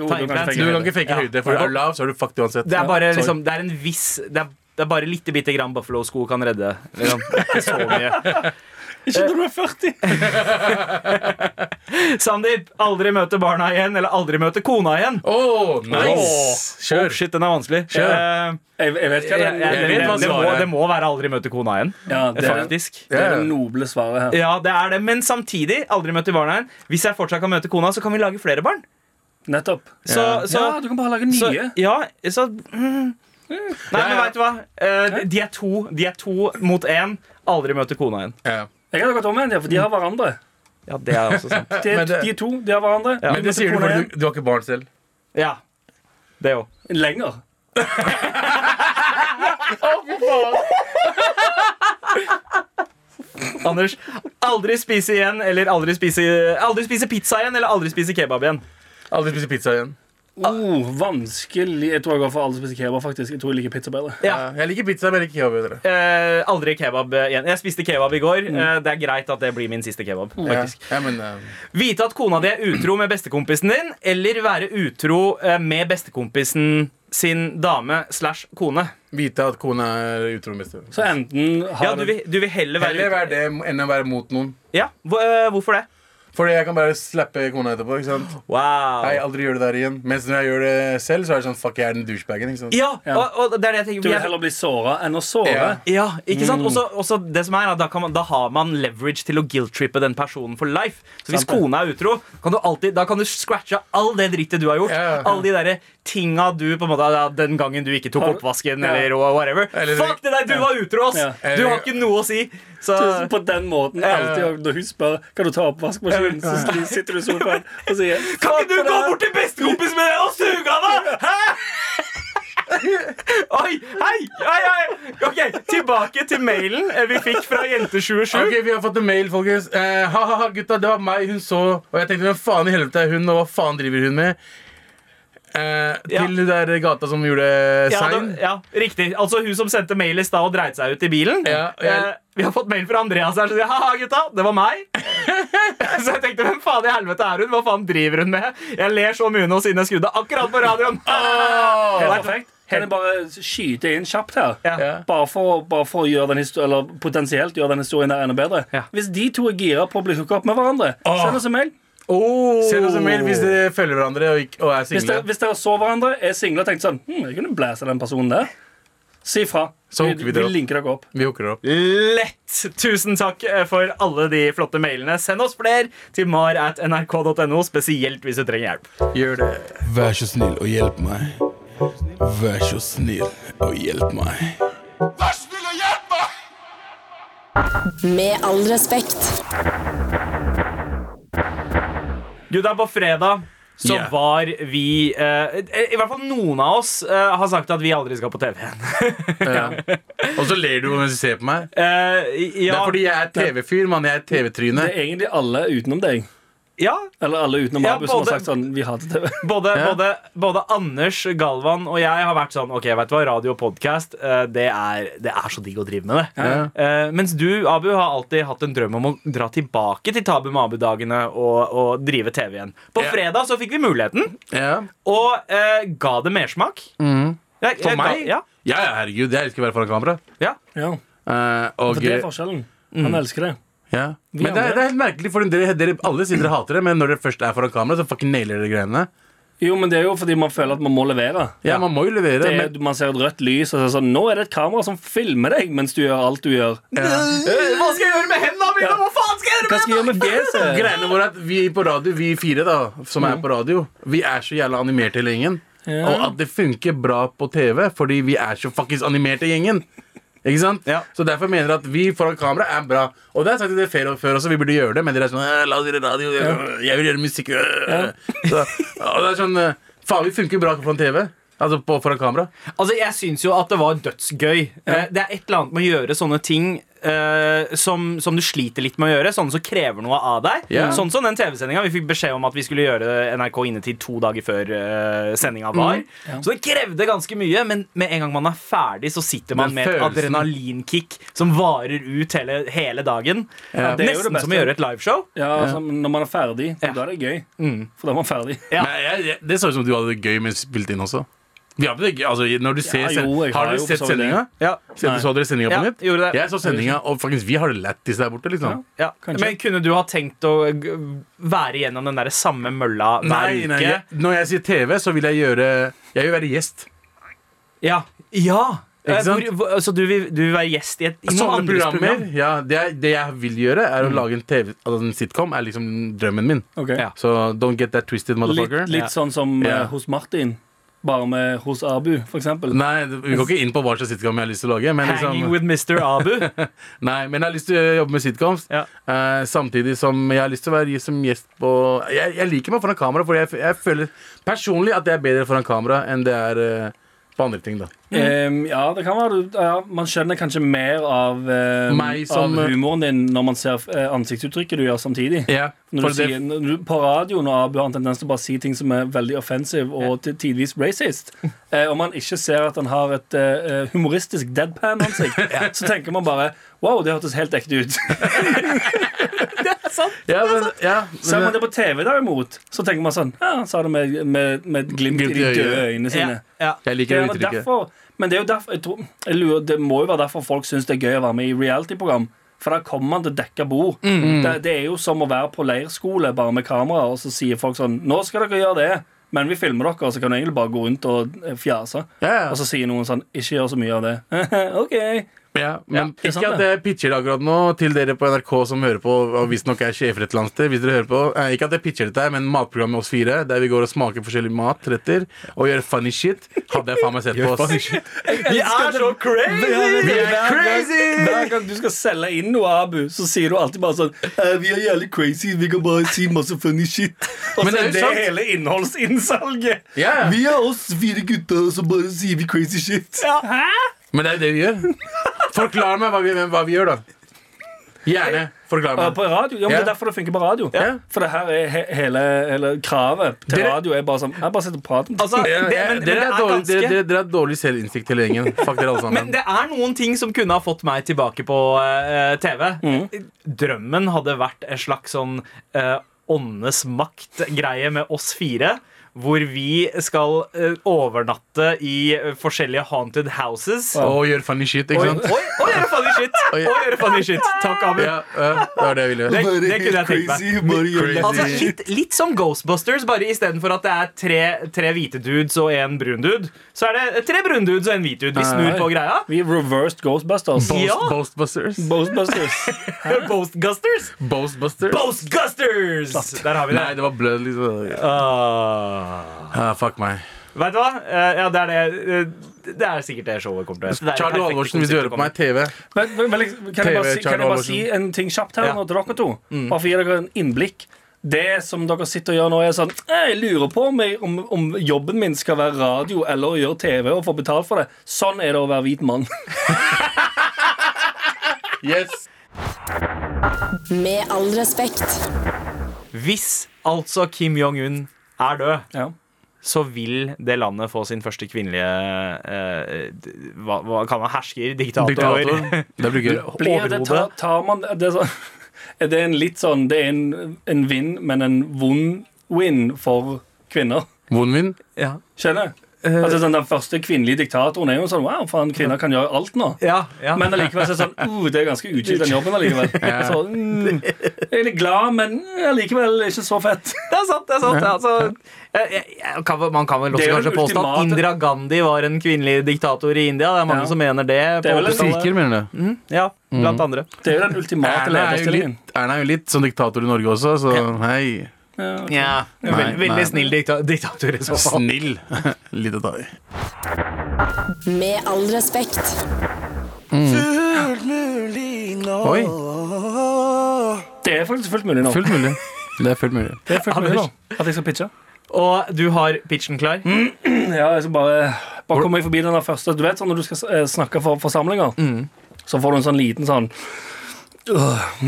S3: Du kan ikke fake høyde, for er du lav, så er du fucked uansett.
S2: Det er bare
S4: Ja, sorry.
S2: liksom, det er en viss Det er, det er bare lite bitte grann Buffalo-sko kan redde. Liksom. Ikke så mye.
S4: Ikke når du er 40.
S2: Sandeep, aldri møte barna igjen, eller aldri møte kona igjen.
S3: Åh, Oh, nice!
S2: Åh,
S3: Kjør.
S2: Shit, den er vanskelig.
S3: Kjør.
S2: Eh,
S4: Jeg, jeg vet
S2: jeg, jeg,
S4: hva det er.
S2: det, det,
S3: hva
S2: det, må,
S3: svaret er.
S2: det må være aldri møte kona igjen.
S4: Ja, det, er,
S2: Faktisk.
S4: det er det noble svaret her.
S2: Ja, det er det, men samtidig aldri møte barna igjen. Hvis jeg fortsatt kan møte kona, så kan vi lage flere barn.
S4: Nettopp.
S2: Så, så,
S4: ja, du kan bare lage nye.
S2: så ja, så mm. Nei, men
S3: ja.
S2: veit du hva? Eh, de- de, er to, de er to mot én. Aldri møte kona igjen.
S3: Ja.
S4: Jeg hadde gått om igjen, ja, for de har hverandre.
S2: Ja, det er også sant.
S4: De,
S3: Men det-
S4: de to, de har hverandre.
S3: Men det sier du fordi du, du har ikke barn selv.
S2: Ja, det òg.
S4: Lenger.
S2: Anders, aldri spise igjen eller aldri spise, aldri spise pizza igjen eller aldri spise kebab igjen.
S3: Aldri spise pizza igjen.
S2: Ah.
S4: Oh, vanskelig. Jeg tror jeg går for alle som spiser kebab, faktisk. Jeg tror jeg liker pizza bedre.
S2: Ja.
S3: Ja, Jeg liker pizza, men jeg liker kebab bedre.
S2: Eh, aldri kebab igjen. Jeg spiste kebab i går. Eh, det er greit at det blir min siste kebab.
S3: Ja.
S2: faktisk
S3: Ja, men, eh,
S2: Vite at kona di er utro med bestekompisen din, eller være utro eh, med bestekompisen sin dame slash kone.
S3: vite at kona er utro med bestevenn.
S4: Så enten har
S2: Ja, du vil, du vil heller være
S3: Heller
S2: utro.
S3: være det enn å være mot noen.
S2: Ja, hvor- eh, Hvorfor det?
S3: Fordi jeg kan bare slappe kona etterpå. ikke sant? Nei,
S2: Wow.
S3: aldri gjør det der ighen. Mens når jeg gjør det selv, så er det sånn fuck, jeg er den douchebagen. ikke sant?
S2: Ja, og, og det er det jeg tenker.
S4: Du vil
S2: Jeg-
S4: heller bli såra enn å såre.
S3: Ja.
S2: Ja, ikke sant?
S4: Mm.
S2: Også, også det som er, at da, kan man, da har man leverage til å guilt-trippe den personen for life. Så hvis
S4: Sant det.
S2: kona er utro, kan du alltid, da kan du scratche all det drittet du har gjort.
S3: Ja.
S2: Alle de derre tinga du på en måte ja, Den gangen du ikke tok
S4: Har-
S2: oppvasken,
S4: Ja.
S2: eller whatever.
S3: Eller-
S2: Fuck det der, du var utro, ass!
S4: Ja.
S2: Du har ikke noe å si. Så
S4: Så På den måten alltid og Når hun spør Kan du ta opp vaskemaskinen Så sli- sitter du i sofaen Og sier
S2: kan ikke du gå bort til bestekompisen min og suge han, da?! Hæ?! Oi, hei, hei, hei. Ok, Tilbake til mailen eh, vi fikk fra Jente27.
S3: Ok, Vi har fått en mail, folkens. Eh, ha, ha, ha, gutta, det var meg hun så. Og jeg tenkte hvem faen i helvete er hun, og hva faen driver hun med? Eh, til
S2: Ja.
S3: hun der gata som gjorde
S2: Ja,
S3: sign.
S2: da, ja, riktig. Altså hun som sendte mail i stad og dreit seg ut i bilen.
S3: Ja, jeg-
S2: Eh, vi har fått mail fra Andreas her, så sier ha-ha, gutta, det var meg. så jeg tenkte, hvem faen i helvete er hun? Hva faen driver hun med? Jeg ler så mye nå siden jeg skrudde akkurat på radioen.
S4: Helt
S2: Helt
S4: perfekt Kan jeg bare skyte inn kjapt her
S2: Ja.
S3: Ja.
S4: bare, for, bare for å gjøre den historien Eller potensielt gjøre den historien der enda bedre
S2: Ja.
S4: Hvis de to er gira på å bli hooket opp med hverandre Send oss en mail
S2: Oh.
S3: Send oss en mail hvis dere følger hverandre og, ikke, og er
S4: Hvis dere,
S3: single.
S4: hvis dere så hverandre Er single og tenkte sånn Hm, jeg kunne blæse den personen der Si fra
S3: Så hooker vi dere opp.
S4: linker dere opp
S3: Vi hooker det opp.
S2: Lett! Tusen takk eh, for alle de flotte mailene. Send oss flere til mar at nrk.no, spesielt hvis du trenger hjelp.
S3: Gjør det.
S7: Vær så snill og hjelp meg. Vær så snill og hjelp meg.
S5: Med all respekt.
S2: Gutta, på fredag så
S3: Ja.
S2: var vi eh, I hvert fall noen av oss eh, har sagt at vi aldri skal på TV igjen.
S3: Og så ler du mens du ser på meg.
S2: Eh,
S3: Det
S2: ja,
S3: er fordi jeg er TV-fyr, mann. Jeg er TV-tryne.
S4: Det er egentlig alle utenom deg
S2: ja
S4: Eller alle utenom
S2: Ja,
S4: Abu som
S2: både-
S4: har sagt sånn Vi hater TV
S2: både,
S3: Ja.
S2: både, både Anders, Galvan og jeg har vært sånn Ok, vet du hva, radio og podkast, det, er- det er så digg å drive med det. Eh, mens du, Abu, har alltid hatt en drøm om å dra tilbake til Tabu med Abu-dagene og, og drive TV igjen. På
S3: Ja.
S2: fredag så fikk vi muligheten,
S3: Ja.
S2: og eh, ga det mersmak. Jeg- jeg
S3: Mm. For
S2: ga-
S3: meg?
S2: Ja.
S3: Ja, ja, herregud. Jeg elsker å være foran kamera.
S2: ja.
S4: Ja
S3: Eh, og,
S4: For det er forskjellen. Han elsker det.
S3: ja. Men det er,
S4: andre-
S3: det er helt merkelig, for dere, dere, alle sier dere hater det, men når dere først er foran kamera, så fucking nailer dere greiene.
S4: Jo, men det er jo fordi man føler at man må levere.
S3: Ja, man må jo levere.
S4: Det er,
S3: men,
S4: man ser et rødt lys, og så er det sånn Nå er det et kamera som filmer deg mens du gjør alt du gjør.
S2: Hva skal jeg gjøre med hendene mine? Hva faen skal jeg gjøre
S4: Hva
S2: med
S4: skal jeg gjøre med fjeset?
S3: greiene våre er at vi på radio, vi fire da, som
S4: Mm.
S3: er på radio, vi er så jævla animerte hele gjengen. Og at det funker bra på TV, fordi vi er så fuckings animerte gjengen. Ikke sant?
S2: Ja.
S3: Så derfor mener jeg at vi foran kamera er bra. Og det har jeg sagt til dere før, før også, vi burde gjøre det, men dere er sånn «Eh, La oss gjøre radio, jeg, jeg vil gjøre musikk øh». så, Og det er sånn eh, Faen, vi øh, funker bra foran TV. Altså på, foran kamera.
S2: Altså, Jeg syns jo at det var dødsgøy. Eh, Det er et eller annet med å gjøre sånne ting eh, som, som du sliter litt med å gjøre. Sånne som krever noe av deg.
S3: Ja.
S2: Sånn som den TV-sendinga. Vi fikk beskjed om at vi skulle gjøre NRK innetid to dager før uh, sendinga var. Så det krevde ganske mye, men med en gang man er ferdig, så sitter man
S3: Den
S2: med et
S3: følelsen.
S2: adrenalinkick som varer ut hele, hele dagen.
S4: Ja, det er jo det
S2: Nesten som å
S4: beste.
S2: gjøre et liveshow.
S4: Ja, Mm. altså, Når man er ferdig,
S2: Ja.
S4: da er det gøy. For da er man ferdig.
S2: Ja.
S3: Men jeg, jeg, det så ut som du hadde det gøy mens vi spilte inn også. Vi hadde det gøy, altså når du ser
S4: jo,
S3: sen-
S4: jeg har
S3: Har dere
S4: jo
S3: sett
S4: for så vidt
S3: sendinga?
S2: Ja,
S3: Så,
S4: Nei.
S3: så dere sendinga
S2: Ja,
S3: på nytt?
S2: gjorde det.
S3: Jeg så sendinga, og faktisk, vi har det lættis der borte. liksom
S2: ja.
S4: Kanskje.
S2: Men kunne du ha tenkt å g- være igjennom den der samme mølla hver
S3: Nei,
S2: uke?
S3: nei, jeg, Når jeg sier TV, så vil jeg gjøre Jeg vil være gjest.
S2: Ja. ja.
S3: Ikke
S2: Eh,
S3: sant?
S2: Hvor, hvor, så du vil, du vil være gjest i, et, i noen
S3: Sånne
S2: andres
S3: programmer.
S2: program?
S3: Ja, det, jeg, det jeg vil gjøre, er å lage en TV Altså en sitcom. er liksom drømmen min.
S4: Ok.
S2: Ja.
S3: Så don't get that twisted,
S4: Litt,
S3: motherfucker.
S4: litt sånn som eh,
S3: Ja.
S4: hos Martin, bare med hos Abu, for eksempel.
S3: Nei, Vi går ikke inn på hva slags sitcom jeg har lyst til å lage. Men,
S2: Hanging
S3: liksom,
S2: with Mr. Abu.
S3: nei, men jeg har lyst til å jobbe med sitcoms.
S2: Ja.
S3: eh, samtidig som jeg har lyst til å være som gjest på Jeg, jeg liker meg foran kamera, for jeg, f- jeg føler personlig at det er bedre foran kamera enn det er eh, på andre ting. da
S4: Em, Ehm, ja, det kan være du- ja, Man skjønner kanskje mer av, em,
S3: Meg som-
S4: av humoren din når man ser eh, ansiktsuttrykket du gjør samtidig.
S3: Ja,
S4: Når
S3: for
S4: du
S3: det-
S4: sier, når du, på radioen og Abu har en tendens til å bare si ting som er veldig offensive og til tidvis racist. Eh, og man ikke ser at han har et eh, humoristisk deadpan-ansikt, så tenker man bare Wow, det hørtes helt ekte ut.
S3: ja, men, ja,
S4: Ser man
S3: men,
S4: det på TV, derimot, så tenker man sånn Ja, han sa det med, med, med et glimt, i
S3: Glimt i
S4: de
S3: øyet.
S4: døde øynene
S2: ja,
S4: sine.
S2: ja.
S3: jeg
S4: Det
S3: liker
S4: er
S3: det
S4: jo
S3: uttrykket.
S4: derfor, men det er jo derfor jeg tror, jeg lurer, Det må jo være derfor folk syns det er gøy å være med i reality-program. For da kommer man til dekka bord. Det, det er jo som å være på leirskole bare med kamera, og så sier folk sånn Nå skal dere gjøre det, men vi filmer dere, og så kan du egentlig bare gå rundt og eh, fjase.
S3: Ja, ja.
S4: Og så sier noen sånn Ikke gjør så mye av det. OK.
S3: Ja, men
S4: det er sant,
S3: ikke at jeg pitcher det akkurat nå til dere på NRK som hører på, og visstnok er sjefer et eller annet sted. Hvis dere hører på, eh, ikke at jeg pitcher dette, her, men matprogrammet med oss fire, der vi går og smaker forskjellig mat, retter, og gjør funny shit, hadde jeg faen meg sett på oss.
S2: Vi er så
S4: Vi
S2: crazy!
S4: er crazy! Hver gang du skal selge inn noe, Abu, så sier du alltid bare sånn «Eh, Vi er jævlig crazy, vi kan bare si masse funny shit. Og
S3: Men
S4: så
S3: det er
S4: er
S3: jo
S4: det
S3: sant.
S4: hele innholdsinnsalget.
S3: Ja, ja.
S4: Vi er oss fire gutter, og så bare sier vi crazy shit.
S3: Men det er jo det vi gjør. Forklar meg hva vi, hva vi gjør, da. Gjerne. Forklar
S4: Ja,
S3: meg.
S4: på radio. Ja, men Det
S3: Ja.
S4: er derfor det funker på radio.
S3: Ja.
S4: For det her er he hele, hele kravet til
S3: Dere-
S4: radio er bare sånn Jeg bare sitter og prater. med
S2: Altså, det,
S3: Ja,
S2: men,
S3: ja,
S2: men det
S3: Dere
S2: er
S3: har dårlig, dere-
S2: ganske
S3: dere- dere har dårlig selvinnsikt, hele gjengen. Fuck dere alle
S2: men
S3: sammen.
S2: det er noen ting som kunne ha fått meg tilbake på eh, TV. Drømmen hadde vært en slags sånn eh, åndenes makt-greie med oss fire. Hvor vi skal eh, overnatte i eh, forskjellige haunted houses.
S3: Og gjør funny shit,
S2: Oi,
S3: ikke sant?
S2: oi, oi, gjøre funny shit! Oi, gjøre funny shit. Takk, Abu.
S3: Ja, ja, det var det jeg ville.
S2: Det, det kunne jeg tenkt meg.
S6: bare gjør
S3: Crazy.
S2: Altså, litt, litt som Ghostbusters, bare istedenfor at det er tre, tre hvite dudes og en brun dude, så er det tre brune dudes og en hvit dude. Vi snur på greia.
S4: Vi er reversed Ghostbusters.
S2: Ja.
S3: Boastbusters.
S4: Ghostbusters.
S2: Boastgusters!
S3: Boastbusters.
S2: Boastgusters! Der har vi det.
S3: Nei, det var blødd, liksom.
S2: Ah.
S3: Ah, fuck meg.
S2: Vet du hva? Eh, ja, det er det eh, Det er sikkert det showet kommer til å hete.
S3: Charlie Halvorsen, hvis du hører på meg, TV.
S4: Men, men, men, liksom, kan jeg bare, si,
S3: TV, Charlie
S4: kan jeg bare
S3: Halvorsen.
S4: si en ting kjapt her
S3: Ja.
S4: nå til dere to? Bare for å gi dere en innblikk. Det som dere sitter og gjør nå, er sånn Jeg lurer på om, jeg, om, om jobben min skal være radio eller å gjøre TV og få betalt for det. Sånn er det å være hvit mann.
S3: Yes.
S5: Med all respekt.
S2: Hvis altså Kim Jong-un er død
S4: Ja.
S2: så vil det landet få sin første kvinnelige eh, d- hva, hva kan man hersker? Diktator.
S3: Diktator. Det blir gøy.
S4: Blir det,
S2: Overhodet.
S4: tar, tar man det er, sånn, er det en litt sånn Det er en, en vinn, men en vond win for kvinner.
S3: Vondvin.
S2: Ja.
S4: Skjønner? Altså, sånn, den første kvinnelige diktatoren er jo sånn Wow, faen, kvinner kan gjøre alt nå.
S2: Ja, ja.
S4: Men allikevel så er det sånn uh, Det er ganske utskilt den jobben allikevel. Så, mm, jeg er litt glad, men allikevel ikke så fett.
S2: det er sant. det er sant altså, jeg, jeg, jeg kan, vel- Man kan vel
S4: Det
S2: også
S4: er jo
S2: kanskje
S4: den
S2: påstå at
S4: ultimate-
S2: Indira Gandhi var en kvinnelig diktator i India. Det er mange
S4: Ja.
S2: som mener det.
S4: Det
S2: på
S4: er vel en
S2: 80-tallet.
S3: Sikher, mener du?
S2: Ja,
S3: Mm.
S2: blant andre.
S4: Det er jo den ultimate
S3: Erna er, jo
S4: lederstillingen.
S3: litt, Erna er jo litt som diktator i Norge også, så hei.
S2: Ja,
S3: Nei,
S2: veld,
S3: nei.
S2: Veldig snill dikta diktator i så fall.
S3: Snill. Litt å ta i.
S5: Med all respekt.
S3: Oi.
S4: Det er faktisk fullt mulig nå.
S3: Fullt mulig. Det er fullt mulig.
S4: Det er fullt mulig nå At jeg skal pitche.
S2: Og du har pitchen klar?
S3: Mm.
S4: Ja, jeg skal bare, bare komme meg forbi den der første. Du vet sånn når du skal eh, snakke for forsamlinger,
S3: Mm.
S4: så får du en sånn liten sånn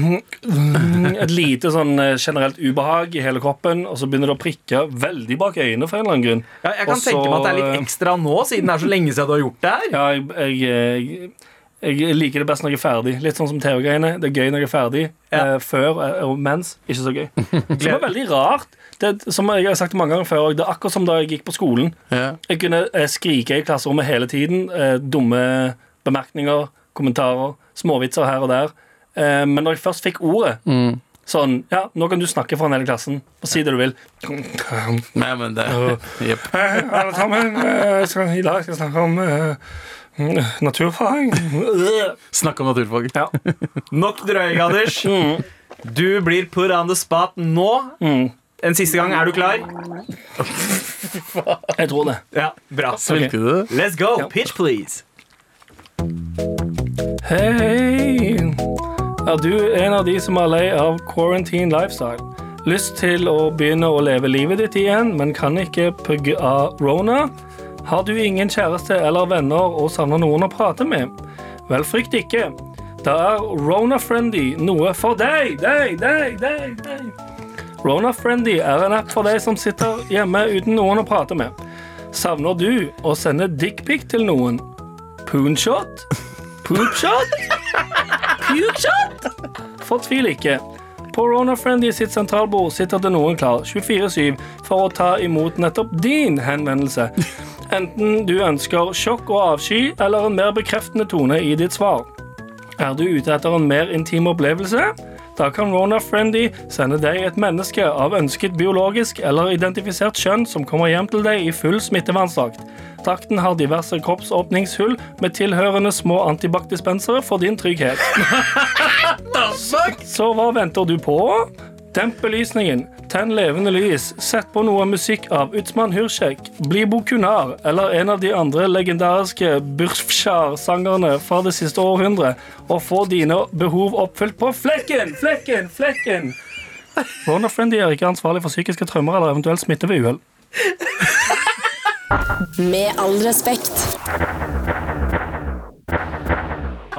S4: Et lite sånn eh, generelt ubehag i hele kroppen, og så begynner det å prikke veldig bak øynene for en eller annen grunn.
S2: Ja, jeg kan
S4: Og så-
S2: tenke meg at det er litt ekstra nå, siden det er så lenge siden du har gjort det her.
S4: Ja, jeg, jeg, jeg, jeg liker det best når jeg er ferdig. Litt sånn som TV-greiene. Det er gøy når jeg er ferdig.
S2: Ja.
S4: Eh, før eh, og mens. Ikke så gøy. Som er veldig rart. Det, er- som jeg har sagt mange ganger før, det er akkurat som da jeg gikk på skolen.
S3: Ja.
S4: Jeg kunne eh, skrike i klasserommet hele tiden. Eh, dumme bemerkninger, kommentarer, småvitser her og der. Eh, men når jeg først fikk ordet
S2: Mm.
S4: Sånn, ja, nå kan du snakke foran hele klassen og si det du vil.
S3: Nei, men det Jepp.
S4: Hei, alle sammen. Eh, skal, I dag skal jeg snakke om eh, naturfag.
S3: Snakk om naturfag.
S4: Ja.
S2: Nok drøying, Anders.
S3: Mm.
S2: Du blir put on the spot nå. En siste gang. Er du klar?
S4: Jeg tror det.
S2: Ja, bra.
S3: Svelgte du det?
S2: Let's go. Pitch, please.
S4: Hei! Er du en av de som er lei av quarantine lifestyle? Lyst til å begynne å leve livet ditt igjen, men kan ikke pga. rona? Har du ingen kjæreste eller venner og savner noen å prate med? Vel, frykt ikke. Da er Rona Friendly noe for deg, deg, deg, deg, deg. Rona Friendly er en app for deg som sitter hjemme uten noen å prate med. Savner du å sende dickpic til noen? Poonshot? Poopshot? Pukeshot? Fortvil ikke. På Rona Friendly sitt sentralbord sitter det noen klar 24-7 for å ta imot nettopp din henvendelse. Enten du ønsker sjokk og avsky eller en mer bekreftende tone i ditt svar. Er du ute etter en mer intim opplevelse? Da kan Rona Friendly sende deg et menneske av ønsket biologisk eller identifisert kjønn som kommer hjem til deg i full smitteverndrakt. Drakten har diverse kroppsåpningshull med tilhørende små antibac-dispensere for din trygghet. Så hva venter du på? Demp belysningen, tenn levende lys, sett på noe musikk av Utsman Hursek, Blibo Kunar eller en av de andre legendariske Burfsjar-sangerne fra det siste århundret, og få dine behov oppfylt på flekken, flekken, flekken! Warner Friendly er ikke ansvarlig for psykiske traumer eller eventuell smitte ved uhell.
S5: Med all respekt.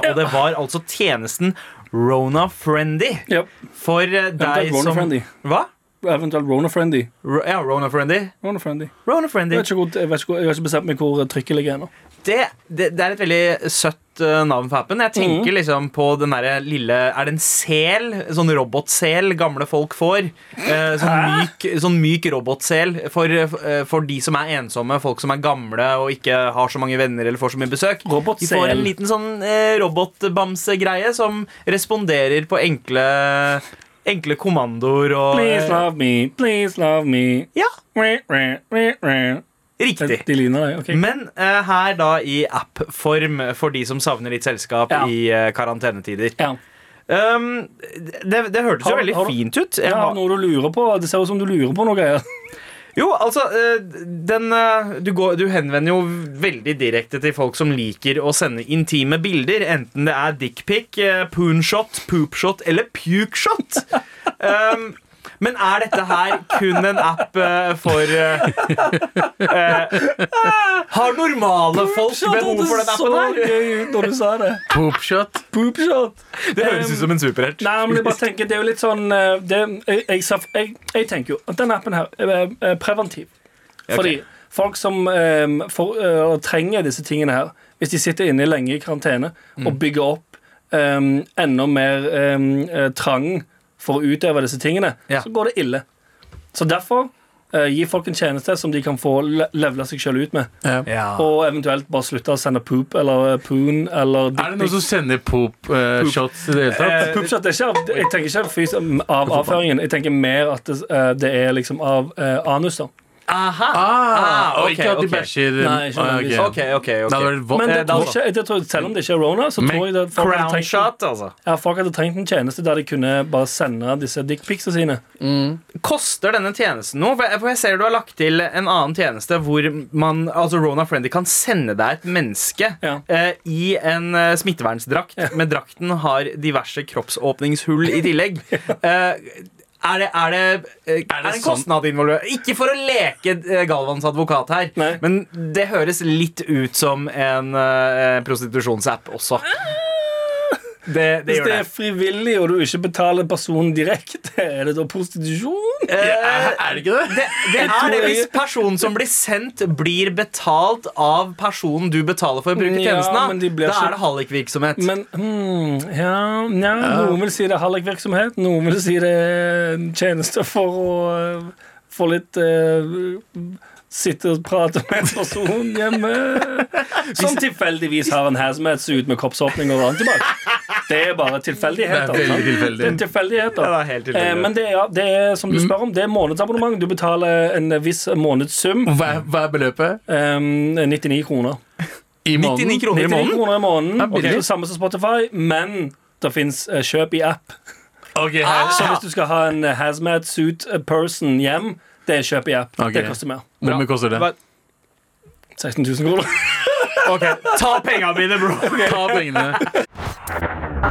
S2: Og det var altså tjenesten Rona Friendly.
S4: Yep.
S2: For eh, deg
S4: Rona
S2: som
S4: Friendly.
S2: Hva?
S4: Eventuelt Rona Friendly.
S2: Ro- Ja, Rona Friendly.
S4: Rona Friendly.
S2: Rona
S4: Jeg,
S2: Friendly.
S4: vet ikke hvor, jeg, vet ikke hvor, jeg har ikke bestemt meg hvor eh, trykket ligger ennå.
S2: Det, det, det er et veldig søtt eh, navn på appen. Jeg tenker
S4: Mm.
S2: liksom på den derre lille Er det en sel? Sånn robotsel gamle folk får. Eh, sånn, myk, sånn myk robotsel for, eh, for de som er ensomme, folk som er gamle og ikke har så mange venner eller får så mye besøk. De
S4: Robotsel.
S2: får en liten sånn eh, robotbamsegreie som responderer på enkle Enkle kommandoer og eh,
S4: Please love me, please love me.
S2: Ja,
S4: Re, re, re, re.
S2: riktig.
S4: De ligner deg, ok.
S2: Men eh, her da i app-form for de som savner litt selskap
S4: Ja.
S2: i eh, karantenetider.
S4: ja.
S2: Um, det, det hørtes
S4: Har-
S2: jo veldig
S4: har du-
S2: fint ut. Jeg
S4: Jeg har
S2: har,
S4: noe du lurer på. Det ser ut som du lurer på noe greier.
S2: jo, altså eh, den, eh, du, går, du henvender jo veldig direkte til folk som liker å sende intime bilder. Enten det er dickpic, eh, poonshot, poopshot eller pukeshot. Um, men er dette her kun en app eh, for eh, eh, Har normale folk behov for den appen her?
S4: Det så gøy ut når du sa det.
S3: Poopshot.
S4: Poopshot.
S2: Det høres ut som en superhelt.
S4: Nei, men jeg bare tenker, det er jo litt sånn eh, det, jeg, jeg, sa- jeg, jeg tenker jo at den appen her er, er preventiv. Fordi folk som eh, får, eh, trenger disse tingene her, hvis de sitter inne lenge i karantene
S3: Mm.
S4: og bygger opp eh, enda mer eh, eh, trang for å utøve disse tingene,
S2: Ja.
S4: så går det ille. Så derfor eh, gi folk en tjeneste som de kan få le- levele seg sjøl ut med. Og eventuelt bare slutte å sende poop eller eh, poon eller
S3: Er det noen som sender poop-shots i det hele tatt?
S4: Poopshot er ikke av, Jeg tenker ikke av, fys- av avføringen. Jeg tenker mer at det, eh, det er liksom av eh, anus, da.
S2: Aha.
S3: Ah, og
S2: ok,
S3: ikke at de
S2: ok.
S3: bæsjer.
S4: Nei, ikke
S3: Ah,
S4: nødvendigvis.
S3: ok.
S2: Ok, ok, ok.
S3: Det hadde vært
S4: Men
S3: vold.
S4: det
S2: Eh, da
S4: tror jeg
S2: altså.
S4: ikke, jeg tror, selv om det ikke er Rona, så tror jeg det, folk, hadde
S2: Crown
S4: trengt,
S2: shot, altså.
S4: ja, folk hadde trengt en tjeneste der de kunne bare sende disse dickpicsene sine.
S2: Koster denne tjenesten noe? For jeg- For jeg ser du har lagt til en annen tjeneste hvor man, altså Rona Friendly kan sende deg et menneske
S4: Ja.
S2: eh, i en eh, smittevernsdrakt, men drakten har diverse kroppsåpningshull i tillegg. Eh, Er det, er det, eh, er det en
S4: sånn-
S2: kostnad involvert? Ikke for å leke eh, Galvans advokat her,
S4: Nei.
S2: men det høres litt ut som en eh, prostitusjonsapp også. Det, det
S4: Ah! Hvis
S2: gjør
S4: det
S2: det.
S4: er frivillig, og du ikke betaler personen direkte, er det da prostitusjon?
S2: Eh,
S3: Er det ikke det?
S2: Det, det er
S4: tror
S2: det
S4: jeg-
S2: hvis personen som blir sendt, blir betalt av personen du betaler for å bruke
S4: Ja,
S2: tjenesten av.
S4: men de blir
S2: Da
S4: så-
S2: er det hallikvirksomhet.
S4: Men hmm, ja, nja, noen vil si det er hallikvirksomhet, noen vil si det er en tjeneste for å eh, få litt eh, Sitte og prate med en person hjemme som tilfeldigvis har en hazmat-suit med kroppsåpning og annet tilbake. Det er bare tilfeldigheter.
S3: Det er veldig
S4: sant?
S3: tilfeldig.
S4: Det er tilfeldigheter.
S2: Ja, det er helt tilfeldig.
S4: Eh, Men det er, ja, det er som du spør om, det er månedsabonnement. Du betaler en viss månedssum.
S3: Hva, er- hva er beløpet?
S4: eh, 99 kroner.
S3: I måneden?
S2: 99 kroner i
S4: 99
S2: måneden.
S4: kroner i måneden.
S3: Ja,
S4: Og det er
S3: billig.
S4: det samme som Spotify, men det fins kjøp i app.
S3: Ok, her.
S4: Så hvis du skal ha en eh, hazmat suit eh, person hjem, det er kjøp i app.
S3: Ok.
S4: Det koster mer.
S3: Hvor mye
S4: Ah,
S3: koster det?
S2: Hva-
S4: 16 000 kroner.
S2: Ok, Ta penga mine, bro!
S3: Ta pengene.